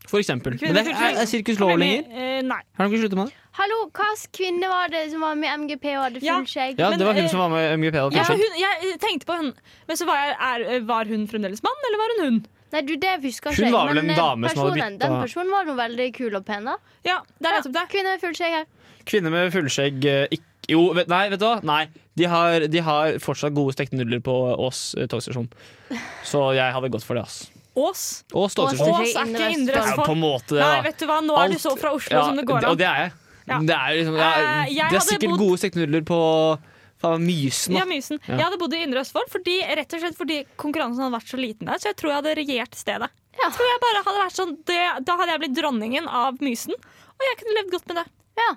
Speaker 2: For eksempel.
Speaker 1: Kvinne
Speaker 2: Men det
Speaker 1: med
Speaker 2: er,
Speaker 1: fullskjegg.
Speaker 2: er sirkus lov
Speaker 1: Bli med-
Speaker 2: lenger?
Speaker 1: eh, nei.
Speaker 2: Har de ikke sluttet med det?
Speaker 3: Hallo, hva slags kvinne var det som var med i MGP og hadde
Speaker 1: Ja.
Speaker 3: fullskjegg?
Speaker 2: Ja,
Speaker 1: Men,
Speaker 2: det var hun
Speaker 1: eh,
Speaker 2: som var med i MGP. og
Speaker 1: Ja,
Speaker 2: fullskjegg.
Speaker 1: hun, jeg tenkte på hun Men så var, jeg, er, eh, var hun fremdeles mann, eller var hun hun?
Speaker 3: Nei, du, det husker
Speaker 2: Hun
Speaker 3: ikke jeg,
Speaker 2: var vel en
Speaker 3: eh,
Speaker 2: dame som hadde
Speaker 3: personen,
Speaker 2: byttet-
Speaker 3: Den personen var nå veldig kul og pen, da.
Speaker 1: Ja, det er
Speaker 3: Ja,
Speaker 1: nettopp det.
Speaker 3: Kvinne med fullskjegg her.
Speaker 2: Kvinner med fullskjegg eh, ikk- Jo, vet, nei, vet du hva? Nei. De har, de har fortsatt gode stekte nudler på Ås eh, togstasjon. Så jeg hadde gått for det, ass.
Speaker 1: Ås.
Speaker 2: Ås togstasjon.
Speaker 1: Ås er ikke indre
Speaker 2: Det er jo på
Speaker 1: Østfold.
Speaker 2: en måte det,
Speaker 1: Nei,
Speaker 2: da.
Speaker 1: vet du hva, nå er du
Speaker 2: Alt-
Speaker 1: så fra Oslo
Speaker 2: Ja,
Speaker 1: som det går
Speaker 2: d- Og
Speaker 1: an.
Speaker 2: det er jeg.
Speaker 1: Ja.
Speaker 2: Det er, liksom, jeg,
Speaker 1: Eh, jeg
Speaker 2: det er
Speaker 1: hadde
Speaker 2: sikkert
Speaker 1: bodd-
Speaker 2: gode stektenudler på faen, Mysen. da.
Speaker 1: Ja, mysen. Jeg hadde bodd i Indre Østfold fordi, rett og slett fordi konkurransen hadde vært så liten der, så jeg tror jeg hadde regjert stedet.
Speaker 3: Ja.
Speaker 1: Tror jeg bare hadde vært sånn, det, Da hadde jeg blitt dronningen av Mysen, og jeg kunne levd godt med det.
Speaker 3: Ja.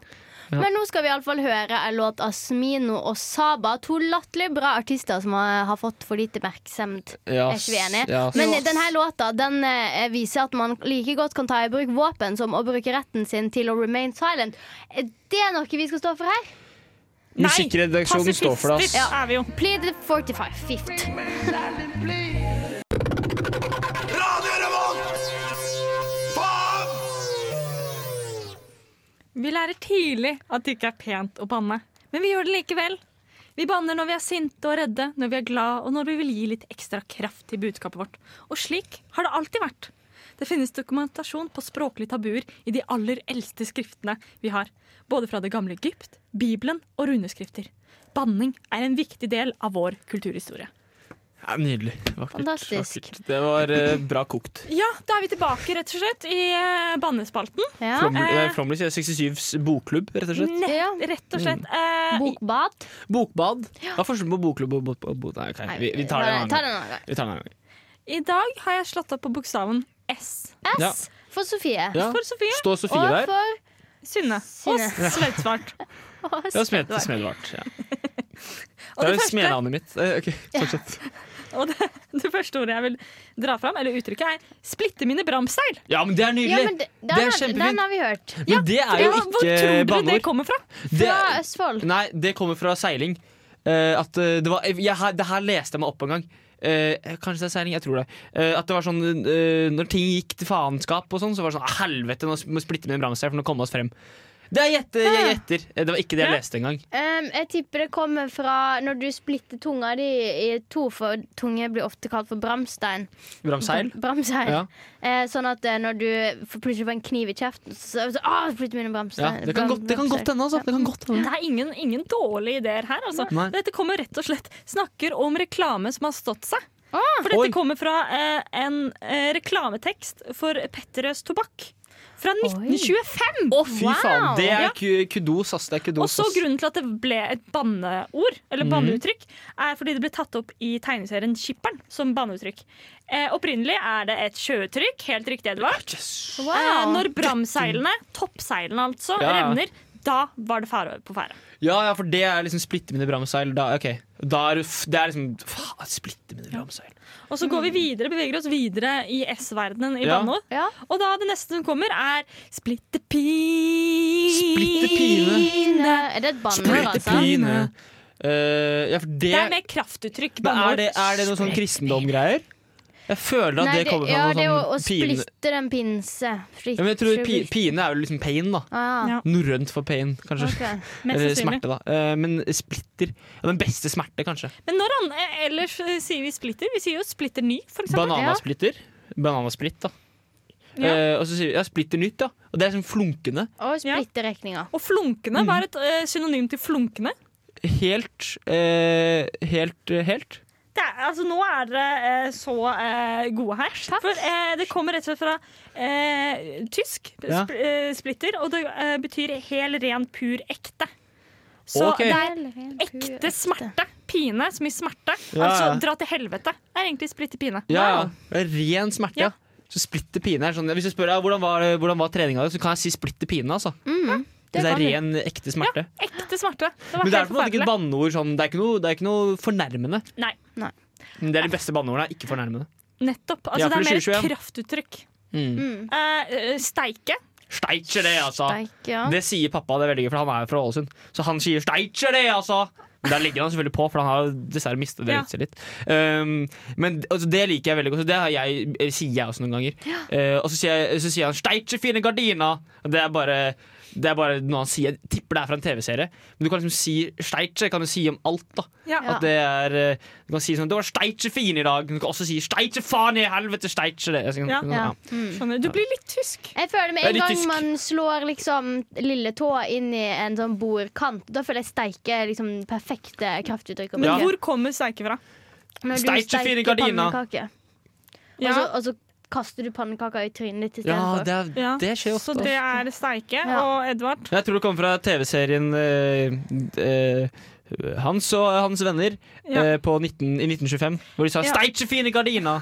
Speaker 3: Men nå skal vi iallfall høre en låt av Smino og Saba. To latterlig bra artister som har, har fått for lite oppmerksomhet.
Speaker 2: Ja,
Speaker 3: Er ikke vi enige?
Speaker 2: ja.
Speaker 3: Men denne låta den eh, viser at man like godt kan ta i bruk våpen som å bruke retten sin til å remain silent. Er det noe vi skal stå for her?
Speaker 1: Nei,
Speaker 2: Musikkredaksjonen står for det. ass.
Speaker 1: pasifister er vi jo.
Speaker 3: Plead the 45 fifth.
Speaker 5: Radio Revolt! Faen!
Speaker 1: Vi lærer tidlig at det ikke er pent å banne, men vi gjør det likevel. Vi banner når vi er sinte og redde, når vi er glad og når vi vil gi litt ekstra kraft til budskapet vårt. Og slik har det alltid vært. Det finnes dokumentasjon på språklige tabuer i de aller eldste skriftene vi har, både fra det gamle Egypt, Bibelen og runeskrifter. Banning er en viktig del av vår kulturhistorie.
Speaker 2: Ja, nydelig. Vakkert.
Speaker 3: Fantastisk.
Speaker 2: Vakkert. Det var eh, bra kokt.
Speaker 1: Ja, da er vi tilbake, rett og slett, i eh, bannespalten.
Speaker 3: Ja.
Speaker 2: Flom-
Speaker 1: Eh. Mm.
Speaker 2: eh, Flomlys er 67s bokklubb, rett og slett.
Speaker 3: Ja. Mm.
Speaker 1: Nett, rett og slett. eh,
Speaker 3: Bokbad.
Speaker 2: Bokbad. Hva er forskjellen på bokklubb og bot... bot nei, ok, vi, vi tar det en annen gang.
Speaker 3: annen gang.
Speaker 2: Vi tar det en annen gang.
Speaker 1: I dag har jeg slått opp på bokstaven S.
Speaker 2: Ja.
Speaker 3: S for Sofie.
Speaker 2: Ja.
Speaker 1: For Sofie,
Speaker 2: Står Sofie
Speaker 3: Og
Speaker 2: der?
Speaker 3: for
Speaker 1: Synne og
Speaker 3: Synne.
Speaker 1: Sveitvart.
Speaker 3: oss.
Speaker 2: Ja, smed, smedvart. Ja.
Speaker 1: Og
Speaker 2: Det er
Speaker 1: det,
Speaker 2: jo
Speaker 1: første,
Speaker 2: smednavnet mitt. Eh, ok, fortsett.
Speaker 1: og det, det første ordet jeg vil dra fram, eller uttrykket, er 'splitte mine bramstein'.
Speaker 2: Ja, men det er
Speaker 3: Ja, men
Speaker 2: nydelig!
Speaker 3: det,
Speaker 2: Det er
Speaker 3: den, har,
Speaker 2: kjempefint.
Speaker 3: den har vi hørt.
Speaker 2: Men det er jo
Speaker 1: Ja, Hvor
Speaker 2: ikke
Speaker 1: tror dere det
Speaker 2: banneord.
Speaker 1: kommer fra?
Speaker 2: Det,
Speaker 3: Fra Østfold.
Speaker 2: nei, det kommer fra seiling. Eh, at eh, det var jeg, her- Det her leste jeg meg opp en gang. Eh, kanskje det er seiling? Jeg tror det. Eh, at det var sånn eh, Når ting gikk til faenskap og sånn, så var det sånn "Ah, Helvete, nå må vi splitte med en bransje her for nå komme oss frem. Det er gjette, jeg gjetter. Eh, Det var ikke det jeg
Speaker 1: Ja.
Speaker 2: leste engang.
Speaker 3: Um, jeg tipper det kommer fra når du splitter tunga di i to, for tunge blir ofte kalt for bramstein.
Speaker 2: Bramseil.
Speaker 3: Bramstein.
Speaker 2: Ja.
Speaker 3: Eh, sånn at eh, når du f- plutselig får en kniv i kjeften, så, så ah, splitter mine
Speaker 2: Ja,
Speaker 3: bramstein.
Speaker 2: det kan
Speaker 3: Bram-
Speaker 2: godt det kan godt
Speaker 3: bramstein.
Speaker 2: hende, altså. Det kan godt hende.
Speaker 1: Det er ingen, ingen dårlige ideer her. Altså.
Speaker 2: Nei.
Speaker 1: Dette kommer rett og slett snakker om reklame som har stått seg. For
Speaker 2: Oi.
Speaker 1: dette kommer fra eh, en eh, reklametekst for Petterøes tobakk fra 1925.
Speaker 2: Å, fy
Speaker 3: Wow.
Speaker 2: faen! Det er
Speaker 1: Ja.
Speaker 2: ku- kudos, ass. Det er
Speaker 1: Og
Speaker 2: kudos,
Speaker 1: så
Speaker 2: ass.
Speaker 1: grunnen til at det ble et banneord, eller
Speaker 2: Mhm.
Speaker 1: banneuttrykk, er fordi det ble tatt opp i tegneserien Skipperen som banneuttrykk. Eh, opprinnelig er det et sjøuttrykk, helt riktig, Edvard.
Speaker 3: Wow.
Speaker 1: Eh, når bramseilene, toppseilene altså,
Speaker 2: Ja, ja.
Speaker 1: revner, da var det fare på ferde.
Speaker 2: Ja, ja, for det er liksom splitte mine bramseil. Da, ok. da er, du f- det er liksom Faen, splitte mine bramseil.
Speaker 1: Og så går vi videre, beveger oss videre i S-verdenen i
Speaker 2: Ja.
Speaker 1: banneord.
Speaker 3: Mm. Ja.
Speaker 1: Og da det neste som kommer, er splitte pine.
Speaker 2: Splitte pine.
Speaker 3: Pine. Er det et banneord,
Speaker 2: Splitte
Speaker 3: altså?
Speaker 2: pine. Eh, ja, for det,
Speaker 1: Det er mer kraftuttrykk.
Speaker 2: men er det,
Speaker 1: banneord.
Speaker 2: er det noe sånn kristendomgreier? Jeg føler at
Speaker 3: Nei,
Speaker 2: det kommer fra
Speaker 3: ja, det er å,
Speaker 2: noe
Speaker 3: å
Speaker 2: sånn pine.
Speaker 3: splitte den pinse. Fritt,
Speaker 2: Ja, men jeg tror pi,
Speaker 3: fritt.
Speaker 2: pine er jo liksom pain, da.
Speaker 3: Ah,
Speaker 1: Ja.
Speaker 2: Norrønt for pain, kanskje.
Speaker 3: ok.
Speaker 1: Mest
Speaker 2: Eller
Speaker 1: sannsynlig.
Speaker 2: smerte, da. Eh, men splitter ja, Den beste smerte, kanskje.
Speaker 1: Men når an, eh, ellers eh, sier vi splitter? Vi sier jo splitter ny, for eksempel.
Speaker 2: Bananasplitter. Bananasplitt, da.
Speaker 1: Ja.
Speaker 2: Eh, og så sier vi ja, splitter nytt, ja. Og det er sånn flunkende.
Speaker 3: Og splitte regninga.
Speaker 1: Og flunkende,
Speaker 2: mm.
Speaker 1: hva er et eh, synonym til flunkende?
Speaker 2: Helt eh, Helt, eh, helt.
Speaker 1: Det er, altså, nå er dere eh, så eh, gode her. For eh, det kommer rett og slett fra eh, tysk,
Speaker 2: Ja.
Speaker 1: sp eh, splitter, og det eh, betyr hel, ren, pur, ekte. Så
Speaker 2: Ok.
Speaker 1: det er ekte smerte. Pine som i smerte.
Speaker 2: Ja,
Speaker 1: altså
Speaker 2: ja.
Speaker 1: dra til helvete. Det er egentlig splitte pine.
Speaker 2: Ja, ja. Det er Ren smerte.
Speaker 1: Ja.
Speaker 2: Ja. Så splitter pine er sånn Hvis jeg spør deg hvordan var, hvordan var treninga di, så kan jeg si splitter pine. Altså.
Speaker 3: det
Speaker 2: Hvis det
Speaker 3: kan
Speaker 2: er
Speaker 3: du.
Speaker 2: ren, ekte smerte.
Speaker 1: Ekte smerte. Det var
Speaker 2: Men det er
Speaker 1: helt
Speaker 2: på en måte ikke et
Speaker 1: forferdelig.
Speaker 2: banneord sånn Det er ikke noe, det er ikke noe fornærmende.
Speaker 1: Nei,
Speaker 2: Men Det er de beste banneordene, er ikke fornærmende.
Speaker 1: nettopp. Altså,
Speaker 2: Ja,
Speaker 1: det
Speaker 2: for
Speaker 1: er mer
Speaker 2: det sier
Speaker 1: et
Speaker 2: 21.
Speaker 1: kraftuttrykk.
Speaker 2: Mm.
Speaker 1: Eh, eh, steike.
Speaker 2: Steitjer det, altså!
Speaker 3: Steik, ja.
Speaker 2: Det sier pappa, det er veldig gøy, for han er jo fra Ålesund. Så han sier 'steitjer det', altså! Men Der ligger han selvfølgelig på, for han har dessverre mistet det
Speaker 1: Ja.
Speaker 2: litt. Um, men altså, det liker jeg veldig godt, så det har jeg, eh, sier jeg også noen ganger. Eh, og så sier, jeg, så sier han 'steitjer fine gardina'. Og Det er bare det er bare noe han sier. Jeg tipper det er fra en TV-serie. Men du kan liksom si 'steitjer' kan du si om alt. da
Speaker 1: Ja.
Speaker 3: Ja.
Speaker 2: At det er eh, Du kan si sånn 'Det var steitjer fin i dag'. Men Du kan også si 'steitjer faen i helvete, steitjer det'. Altså,
Speaker 1: Ja.
Speaker 3: Ja.
Speaker 2: Ja.
Speaker 3: Mm.
Speaker 1: Skjønner. Du blir litt tysk.
Speaker 3: Jeg føler
Speaker 2: Det
Speaker 3: med
Speaker 2: er
Speaker 3: en
Speaker 2: litt
Speaker 3: gang
Speaker 2: tysk.
Speaker 3: man slår liksom lille tå inn i en sånn bordkant, da føler jeg steike er liksom perfekte kraftuttrykk. å
Speaker 1: Men
Speaker 2: Ja.
Speaker 3: bruke.
Speaker 1: hvor kommer steike fra?
Speaker 3: Når du
Speaker 2: Steike
Speaker 3: steiker
Speaker 2: fine gardiner.
Speaker 3: pannekaker, Og, så,
Speaker 1: Ja.
Speaker 3: og så kaster du pannekaker i trynet ditt
Speaker 2: ja,
Speaker 3: istedenfor.
Speaker 2: det, er,
Speaker 1: Ja.
Speaker 2: det skjer ofte.
Speaker 1: Så det er steike
Speaker 3: Ja.
Speaker 1: og Edvard.
Speaker 2: Jeg tror det kommer fra TV-serien eh, eh, Hans og hans venner
Speaker 1: Ja.
Speaker 2: eh, på 19, i 1925, hvor de sa
Speaker 1: Ja.
Speaker 2: 'Steitje fine gardina'!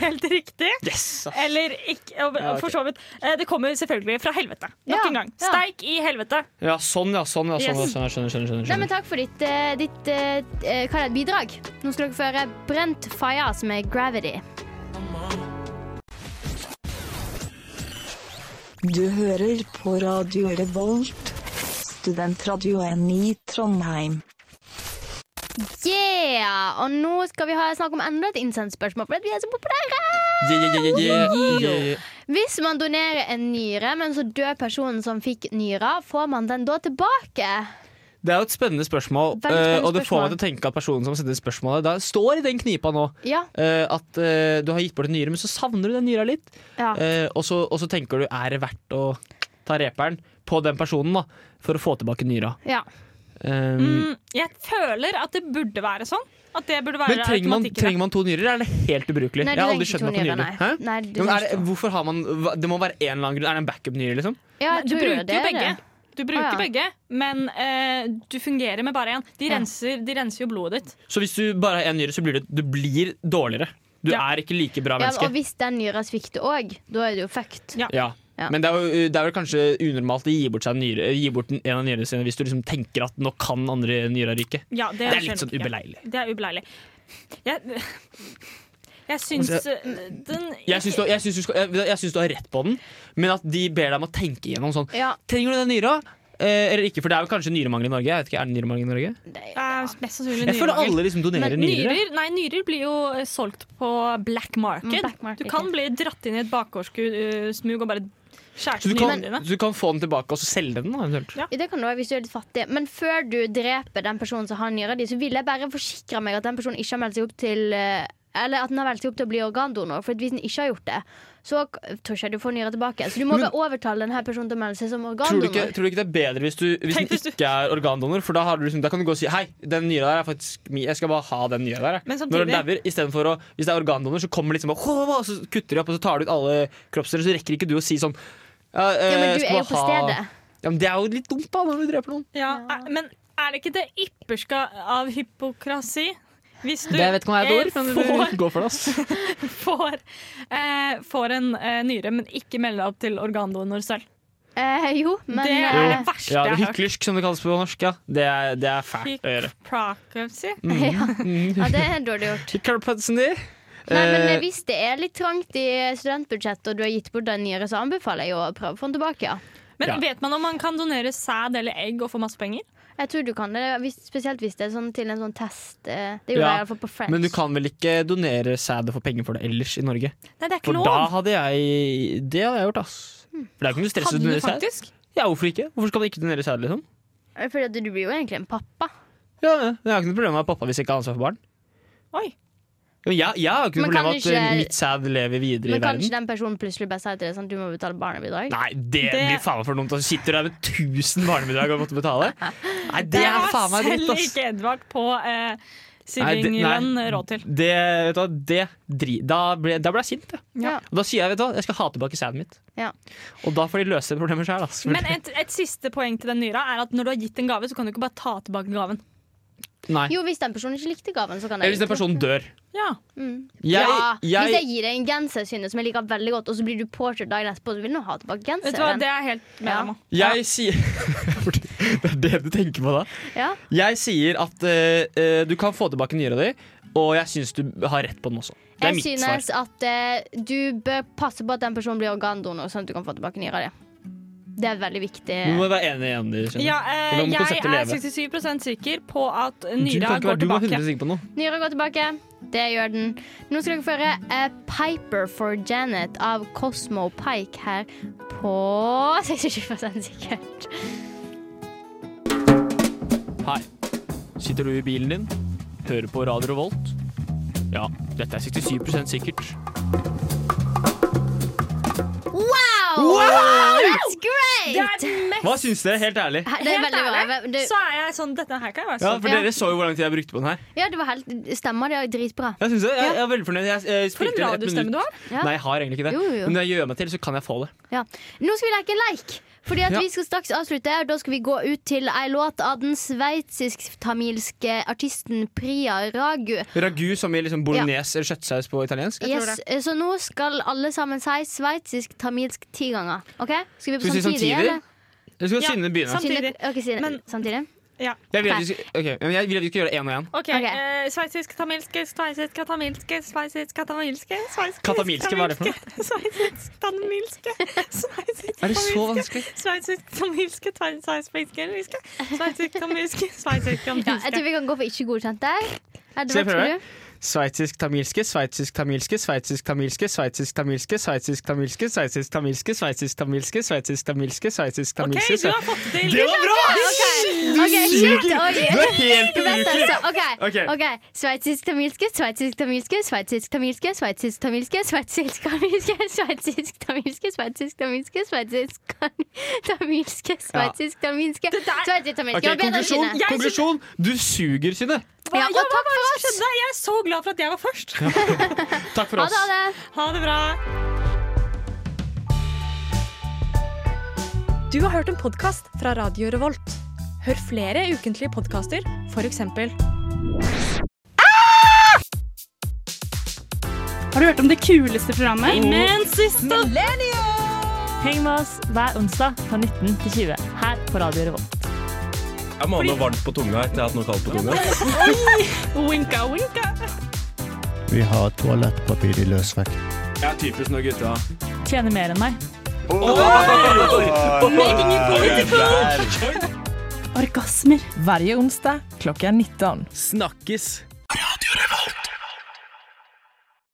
Speaker 1: Helt riktig.
Speaker 2: Yes! ass.
Speaker 1: Eller ikke, og-
Speaker 2: Ja, ok.
Speaker 1: for så vidt. Eh, Det kommer selvfølgelig fra helvete. Nok
Speaker 3: Ja,
Speaker 1: en gang.
Speaker 3: ja.
Speaker 1: Steik i helvete.
Speaker 2: Ja, sånn, ja. sånn, ja, sånn,
Speaker 1: Yes.
Speaker 2: ja, skjønner, skjønner, skjønner,
Speaker 3: Nei,
Speaker 2: skjønner.
Speaker 3: men takk for ditt, eh, ditt eh, eh, hva er det, bidrag. Nå skal dere få høre Brent Fire, som er Gravity.
Speaker 7: Du hører på Radio Revolt, studentradioen i Trondheim.
Speaker 3: Yeah! Og nå skal vi ha snakk om enda et innsendt-spørsmål, fordi vi er så populære!
Speaker 2: Yeah, yeah, yeah, yeah, yeah, yeah, yeah.
Speaker 3: Hvis man donerer en nyre, men så dør personen som fikk nyra, får man den da tilbake?
Speaker 2: Det er jo et spennende spørsmål,
Speaker 3: Veldig spennende
Speaker 2: eh, og det får
Speaker 3: spørsmål.
Speaker 2: meg til å tenke at personen som sender spørsmålet, da står i den knipa nå.
Speaker 3: Ja,
Speaker 2: eh, at eh, du har gitt bort en nyre, men så savner du den nyra litt.
Speaker 3: ja.
Speaker 2: Eh, og, så, og så tenker du er det verdt å ta reperen på den personen da for å få tilbake nyra.
Speaker 3: ja.
Speaker 2: Eh,
Speaker 1: Mm, jeg føler at det burde være sånn. At det burde være
Speaker 2: men trenger man,
Speaker 1: automatikken.
Speaker 2: trenger man to nyrer, eller er det helt ubrukelig?
Speaker 3: Nei, du
Speaker 2: jeg har aldri
Speaker 3: trenger ikke
Speaker 2: skjønt
Speaker 3: to
Speaker 2: meg på nyrer.
Speaker 3: nyrer, nei.
Speaker 2: Hæ?
Speaker 3: Nei, du
Speaker 2: Jo, men er
Speaker 3: trenger
Speaker 2: det, hvorfor har man hva- Det må være en eller annen grunn. Er det en backup-nyre, liksom?
Speaker 3: ja
Speaker 1: Nei, du
Speaker 3: tror
Speaker 1: bruker
Speaker 3: det
Speaker 1: jo
Speaker 3: er
Speaker 1: begge.
Speaker 3: det.
Speaker 1: Du bruker
Speaker 3: Å, ja.
Speaker 1: begge, men eh, du fungerer med bare én. De,
Speaker 3: Ja.
Speaker 1: renser- de renser jo blodet ditt.
Speaker 2: Så hvis du bare har én nyre, så blir du, du blir dårligere. Du
Speaker 1: Ja.
Speaker 2: er ikke like bra
Speaker 3: Ja,
Speaker 2: menneske.
Speaker 3: og hvis den nyra svikter òg, da er det jo fucked.
Speaker 1: Ja.
Speaker 2: Ja.
Speaker 3: Ja.
Speaker 2: Men det er, jo, det er vel kanskje unormalt å gi bort, seg en, nyre, gi bort en av nyrene sine hvis du liksom tenker at nå kan andre nyra ryke.
Speaker 1: Ja, det,
Speaker 2: Det er
Speaker 1: skjønner
Speaker 2: litt sånn
Speaker 1: jeg.
Speaker 2: ubeleilig.
Speaker 1: Det er ubeleilig. Jeg, jeg syns
Speaker 2: Altså,
Speaker 1: eh, den
Speaker 2: Jeg syns du, jeg syns du, skal- jeg, jeg syns du har rett på den, men at de ber deg om å tenke igjennom sånn
Speaker 3: Ja,
Speaker 2: Trenger du den nyra? Eh, eller ikke, for det er jo kanskje nyremangel i Norge. Jeg vet ikke, er det nyremangel i Norge?
Speaker 3: det-
Speaker 1: er mest sannsynlig
Speaker 2: Jeg føler
Speaker 1: nyremangel.
Speaker 2: alle liksom donerer
Speaker 1: Men
Speaker 2: nyrer.
Speaker 1: nyrer, nei, nyrer blir jo eh, solgt på black market.
Speaker 3: Mm, black market,
Speaker 1: Du kan bli dratt inn i et bakgårdssmug og bare skjære
Speaker 2: Så du,
Speaker 1: til
Speaker 2: kan,
Speaker 1: nyrene dine.
Speaker 2: så du kan få den tilbake og så selge den, da, eventuelt.
Speaker 1: Ja.
Speaker 3: Det kan du også hvis du er litt fattig. Men før du dreper den personen som har nyra di, så vil jeg bare forsikre meg at den personen ikke har meldt seg opp til eh, Eller at den har meldt seg opp til å bli organdonor. For hvis den ikke har gjort det, så k- tror ikke jeg du får nyra tilbake. Så du må
Speaker 2: Men-
Speaker 3: bare overtale denne personen til å melde seg som
Speaker 2: Tror du, ikke,
Speaker 3: organdonor.
Speaker 2: tror du ikke det er bedre hvis, du, hvis
Speaker 1: Tenk
Speaker 2: den
Speaker 1: hvis du-
Speaker 2: ikke er organdonor? For da, har du liksom, da kan du gå og si Hei, den nyra der er faktisk mi, Jeg skal bare ha den nyra der. jeg».
Speaker 1: Men
Speaker 2: Når den
Speaker 1: samtidig-
Speaker 2: dauer, i stedet for å Hvis det er organdonor, så kommer det liksom og, «Hå, hå», og Så kutter de opp, og så tar de ut alle kroppsdeler, så rekker ikke du å si sånn ja, eh,
Speaker 3: Ja, men
Speaker 2: jeg
Speaker 3: du
Speaker 2: skal
Speaker 3: er jo
Speaker 2: bare
Speaker 3: på
Speaker 2: ha-
Speaker 3: stedet.
Speaker 2: Ja, men Det er jo litt dumt da når du dreper noen.
Speaker 1: Ja, er, men er det ikke det ypperste av hypokrasi? Hvis du eh, får,
Speaker 2: Gå for det, ass.
Speaker 1: får, eh, får en eh, nyre, men ikke melder deg opp til organdonor selv.
Speaker 3: Eh, jo, men
Speaker 1: det er det
Speaker 3: eh,
Speaker 1: verste
Speaker 2: Ja,
Speaker 1: jeg har hørt.
Speaker 2: Hyklersk, som det kalles på norsk. Ja. Det, er, det er fælt å gjøre.
Speaker 1: Hypocrisy.
Speaker 3: ja, det er dårlig gjort.
Speaker 2: Hyklerpødsen din.
Speaker 3: Nei, men eh,
Speaker 2: Eh,
Speaker 3: hvis det er litt trangt i studentbudsjettet, og du har gitt bort den nyra, så anbefaler jeg jo å prøve å få den tilbake. Ja.
Speaker 1: Men
Speaker 2: Ja.
Speaker 1: vet man om man kan donere sæd eller egg og få masse penger?
Speaker 3: Jeg tror du kan det, hvis, spesielt hvis det er sånn til en sånn test. eh, Det gjorde
Speaker 2: Ja,
Speaker 3: jeg iallfall på Friends.
Speaker 2: Men du kan vel ikke donere sæd og få penger for det ellers i Norge?
Speaker 1: Nei, det er ikke
Speaker 2: For
Speaker 1: lov.
Speaker 2: da hadde jeg Det hadde jeg gjort, ass. For det er jo ikke noe stress å
Speaker 1: Hadde du
Speaker 2: donere sæd.
Speaker 1: faktisk?
Speaker 2: Ja, hvorfor ikke? Hvorfor skal man ikke donere sæd, liksom?
Speaker 3: Eh, Fordi at du blir jo egentlig en pappa.
Speaker 2: Ja, ja. Jeg har ikke noe problem med at pappa hvis jeg ikke har ansvar for barn.
Speaker 1: Oi.
Speaker 2: Jo, Jeg, jeg har ikke noe
Speaker 3: Men kan
Speaker 2: problem med at
Speaker 3: du ikke-
Speaker 2: eh, mitt sæd lever videre
Speaker 3: Men
Speaker 2: i verden.
Speaker 3: kanskje den personen plutselig bare sier til deg sånn du må betale barnebidrag?
Speaker 2: Nei, det, blir faen meg for dumt. Du sitter der med 1000 barnebidrag og måtte betale. Nei, det
Speaker 1: Det
Speaker 2: er
Speaker 1: har
Speaker 2: faen meg dritt,
Speaker 1: selv
Speaker 2: ass.
Speaker 1: ikke Edvard på eh,
Speaker 2: Nei, det- nei.
Speaker 1: Sivingland råd til.
Speaker 2: Det, vet du hva, det dri... Da ble, da ble jeg sint, jeg.
Speaker 3: Ja.
Speaker 2: Og da sier jeg, vet du hva, jeg skal ha tilbake sæden mitt.
Speaker 3: Ja.
Speaker 2: Og da får de løse problemer sjøl, ass.
Speaker 1: Men et, et siste poeng til den nyra er at når du har gitt en gave, så kan du ikke bare ta tilbake gaven.
Speaker 2: Nei.
Speaker 3: Jo, hvis den personen ikke likte gaven, så kan jeg
Speaker 2: Eller hvis den personen dør.
Speaker 1: Ja.
Speaker 3: Mm.
Speaker 2: Jeg,
Speaker 3: ja,
Speaker 2: jeg,
Speaker 3: Hvis jeg gir deg en genser jeg synes, som jeg liker veldig godt, og så blir du påkjørt dagen etterpå, så vil du ha tilbake
Speaker 1: Vet du hva,
Speaker 3: genseren.
Speaker 1: det er jeg helt med
Speaker 3: Ja.
Speaker 1: deg nå.
Speaker 2: jeg sier Det er det du tenker på da?
Speaker 3: Ja.
Speaker 2: Jeg sier at eh, eh, du kan få tilbake nyra di, og jeg syns du har rett på den også. Det er
Speaker 3: Jeg
Speaker 2: mitt svar.
Speaker 3: synes at eh, du bør passe på at den personen blir organdonor, sånn at du kan få tilbake nyra di. Det er veldig viktig.
Speaker 2: Du må være enig igjen. Du, skjønner.
Speaker 1: Ja, eh,
Speaker 2: For da må
Speaker 1: jeg
Speaker 2: konseptet
Speaker 1: er
Speaker 2: leve.
Speaker 1: 67 sikker på at
Speaker 2: Du kan
Speaker 1: nyra
Speaker 2: ikke være-
Speaker 1: går
Speaker 2: du må være
Speaker 1: tilbake.
Speaker 2: 100 sikker på noe.
Speaker 3: Nyra går tilbake. Det gjør den. Nå skal dere få høre eh, Piper for Janet av Cosmo Pike her på 67 sikkert.
Speaker 2: Hei. Sitter du i bilen din? Hører på Radio Revolt? Ja, dette er 67 sikkert.
Speaker 3: Wow! That's
Speaker 1: Det er
Speaker 3: great!
Speaker 1: den mest
Speaker 2: Hva syns dere? Helt ærlig.
Speaker 3: Det er
Speaker 1: Helt
Speaker 3: veldig bra.
Speaker 1: ærlig,
Speaker 3: Det,
Speaker 1: så er jeg sånn Dette her kan jeg være
Speaker 2: Ja,
Speaker 1: stolt
Speaker 2: for
Speaker 3: Ja.
Speaker 2: Dere så jo hvor lang tid jeg brukte på den her.
Speaker 3: ja, det var helt, stemmer. Det er dritbra.
Speaker 2: Jeg, synes det, jeg, jeg er veldig fornøyd. Jeg, jeg
Speaker 1: For en
Speaker 2: spilte inn ett
Speaker 1: radiostemme du
Speaker 2: minutt.
Speaker 1: har.
Speaker 3: Ja.
Speaker 2: Nei, jeg har egentlig ikke det.
Speaker 3: Jo, jo, jo.
Speaker 2: Men når jeg gjør meg til, så kan jeg få det.
Speaker 3: Ja. Nå skal vi leke leik. Fordi at
Speaker 2: Ja.
Speaker 3: Vi skal straks avslutte. og Da skal vi gå ut til ei låt av den sveitsisk-tamilske artisten Priya Ragu.
Speaker 2: Ragu som i liksom bolognese eller kjøttsaus på italiensk.
Speaker 3: Yes, så nå skal alle sammen si sveitsisk tamilsk ti ganger. Ok? Skal vi
Speaker 2: Skal
Speaker 3: på
Speaker 2: vi si
Speaker 3: samtidig?
Speaker 2: samtidig?
Speaker 3: eller?
Speaker 2: Jeg skal
Speaker 1: Ja,
Speaker 2: Synne begynne.
Speaker 1: sam- Samtidig.
Speaker 3: Synne- ok, Synne,
Speaker 1: Men-
Speaker 3: samtidig.
Speaker 2: Jeg vil at vi skal, ok, men jeg vil at vi skal gjøre det én og én.
Speaker 1: Ok,
Speaker 3: Ok.
Speaker 1: eh, Sveitsisk, tamilske, sveitsisk, tamilske, sveitsisk, tamilske sveitsisk,
Speaker 2: Katamilske, hva er det for
Speaker 1: noe? Sveitsisk, tamilske, sveitsisk,
Speaker 2: Er det så
Speaker 1: tamilske,
Speaker 2: vanskelig?
Speaker 1: sveitsisk, tamilske, tveis- sveitsisk, tamilske, sveitsisk, tamilske, sveitsisk,
Speaker 3: Ja, jeg tror
Speaker 1: tamilske.
Speaker 3: vi kan gå for ikke godkjent der. Er det
Speaker 2: Skal jeg
Speaker 3: vårt,
Speaker 2: prøve?
Speaker 3: du?
Speaker 2: Sveitsisk-tamilske, sveitsisk-tamilske, sveitsisk-tamilske, sveitsisk-tamilske, sveitsisk-tamilske, sveitsisk-tamilske, sveitsisk-tamilske, sveitsisk-tamilske,
Speaker 1: OK,
Speaker 2: sveitsisk-tamilske
Speaker 1: du har fått det til.
Speaker 2: Det var bra!
Speaker 3: OK, ok, shit,
Speaker 2: Du
Speaker 3: oi.
Speaker 2: er helt
Speaker 3: Vent,
Speaker 2: ubrukelig!
Speaker 3: altså. OK.
Speaker 2: Ok.
Speaker 3: ok Sveitsisk-tamilske, sveitsisk-tamilske, sveitsisk-tamilske, sveitsisk-tamilske, sveitsisk-tamilske, sveitsisk-tamilske, sveitsisk-tamilske, sveitsisk-tamilske, sveitsisk-tamilske
Speaker 2: Ok,
Speaker 3: Sveitsisk-tamilske.
Speaker 2: konklusjon,
Speaker 1: Jeg synes-
Speaker 2: konklusjon! Du suger, Synne.
Speaker 1: Hva, ja,
Speaker 3: Ja, og
Speaker 1: hva
Speaker 3: takk
Speaker 1: var det
Speaker 3: for
Speaker 1: som
Speaker 3: oss.
Speaker 1: skjedde? Jeg er så glad for at jeg var først.
Speaker 2: Takk for
Speaker 3: Ha
Speaker 2: oss.
Speaker 3: det, ha det.
Speaker 1: Ha det bra.
Speaker 8: Du har hørt en podkast fra Radio Revolt. Hør flere ukentlige podkaster, f.eks.
Speaker 9: Har du hørt om det kuleste programmet?
Speaker 1: Amen, siste.
Speaker 10: Heng med oss hver onsdag fra 19 til 20 her på Radio Revolt.
Speaker 5: Jeg må ha noe varmt på tunga etter jeg har hatt noe kaldt på tunga.
Speaker 9: Winka, winka.
Speaker 11: Vi har toalettpapir i løsvekt.
Speaker 5: Jeg er typisk når gutta
Speaker 10: Tjener mer enn meg.
Speaker 5: Making it political!
Speaker 9: Orgasmer.
Speaker 10: Hver onsdag klokka 19.
Speaker 5: Snakkes! Radio Revolt!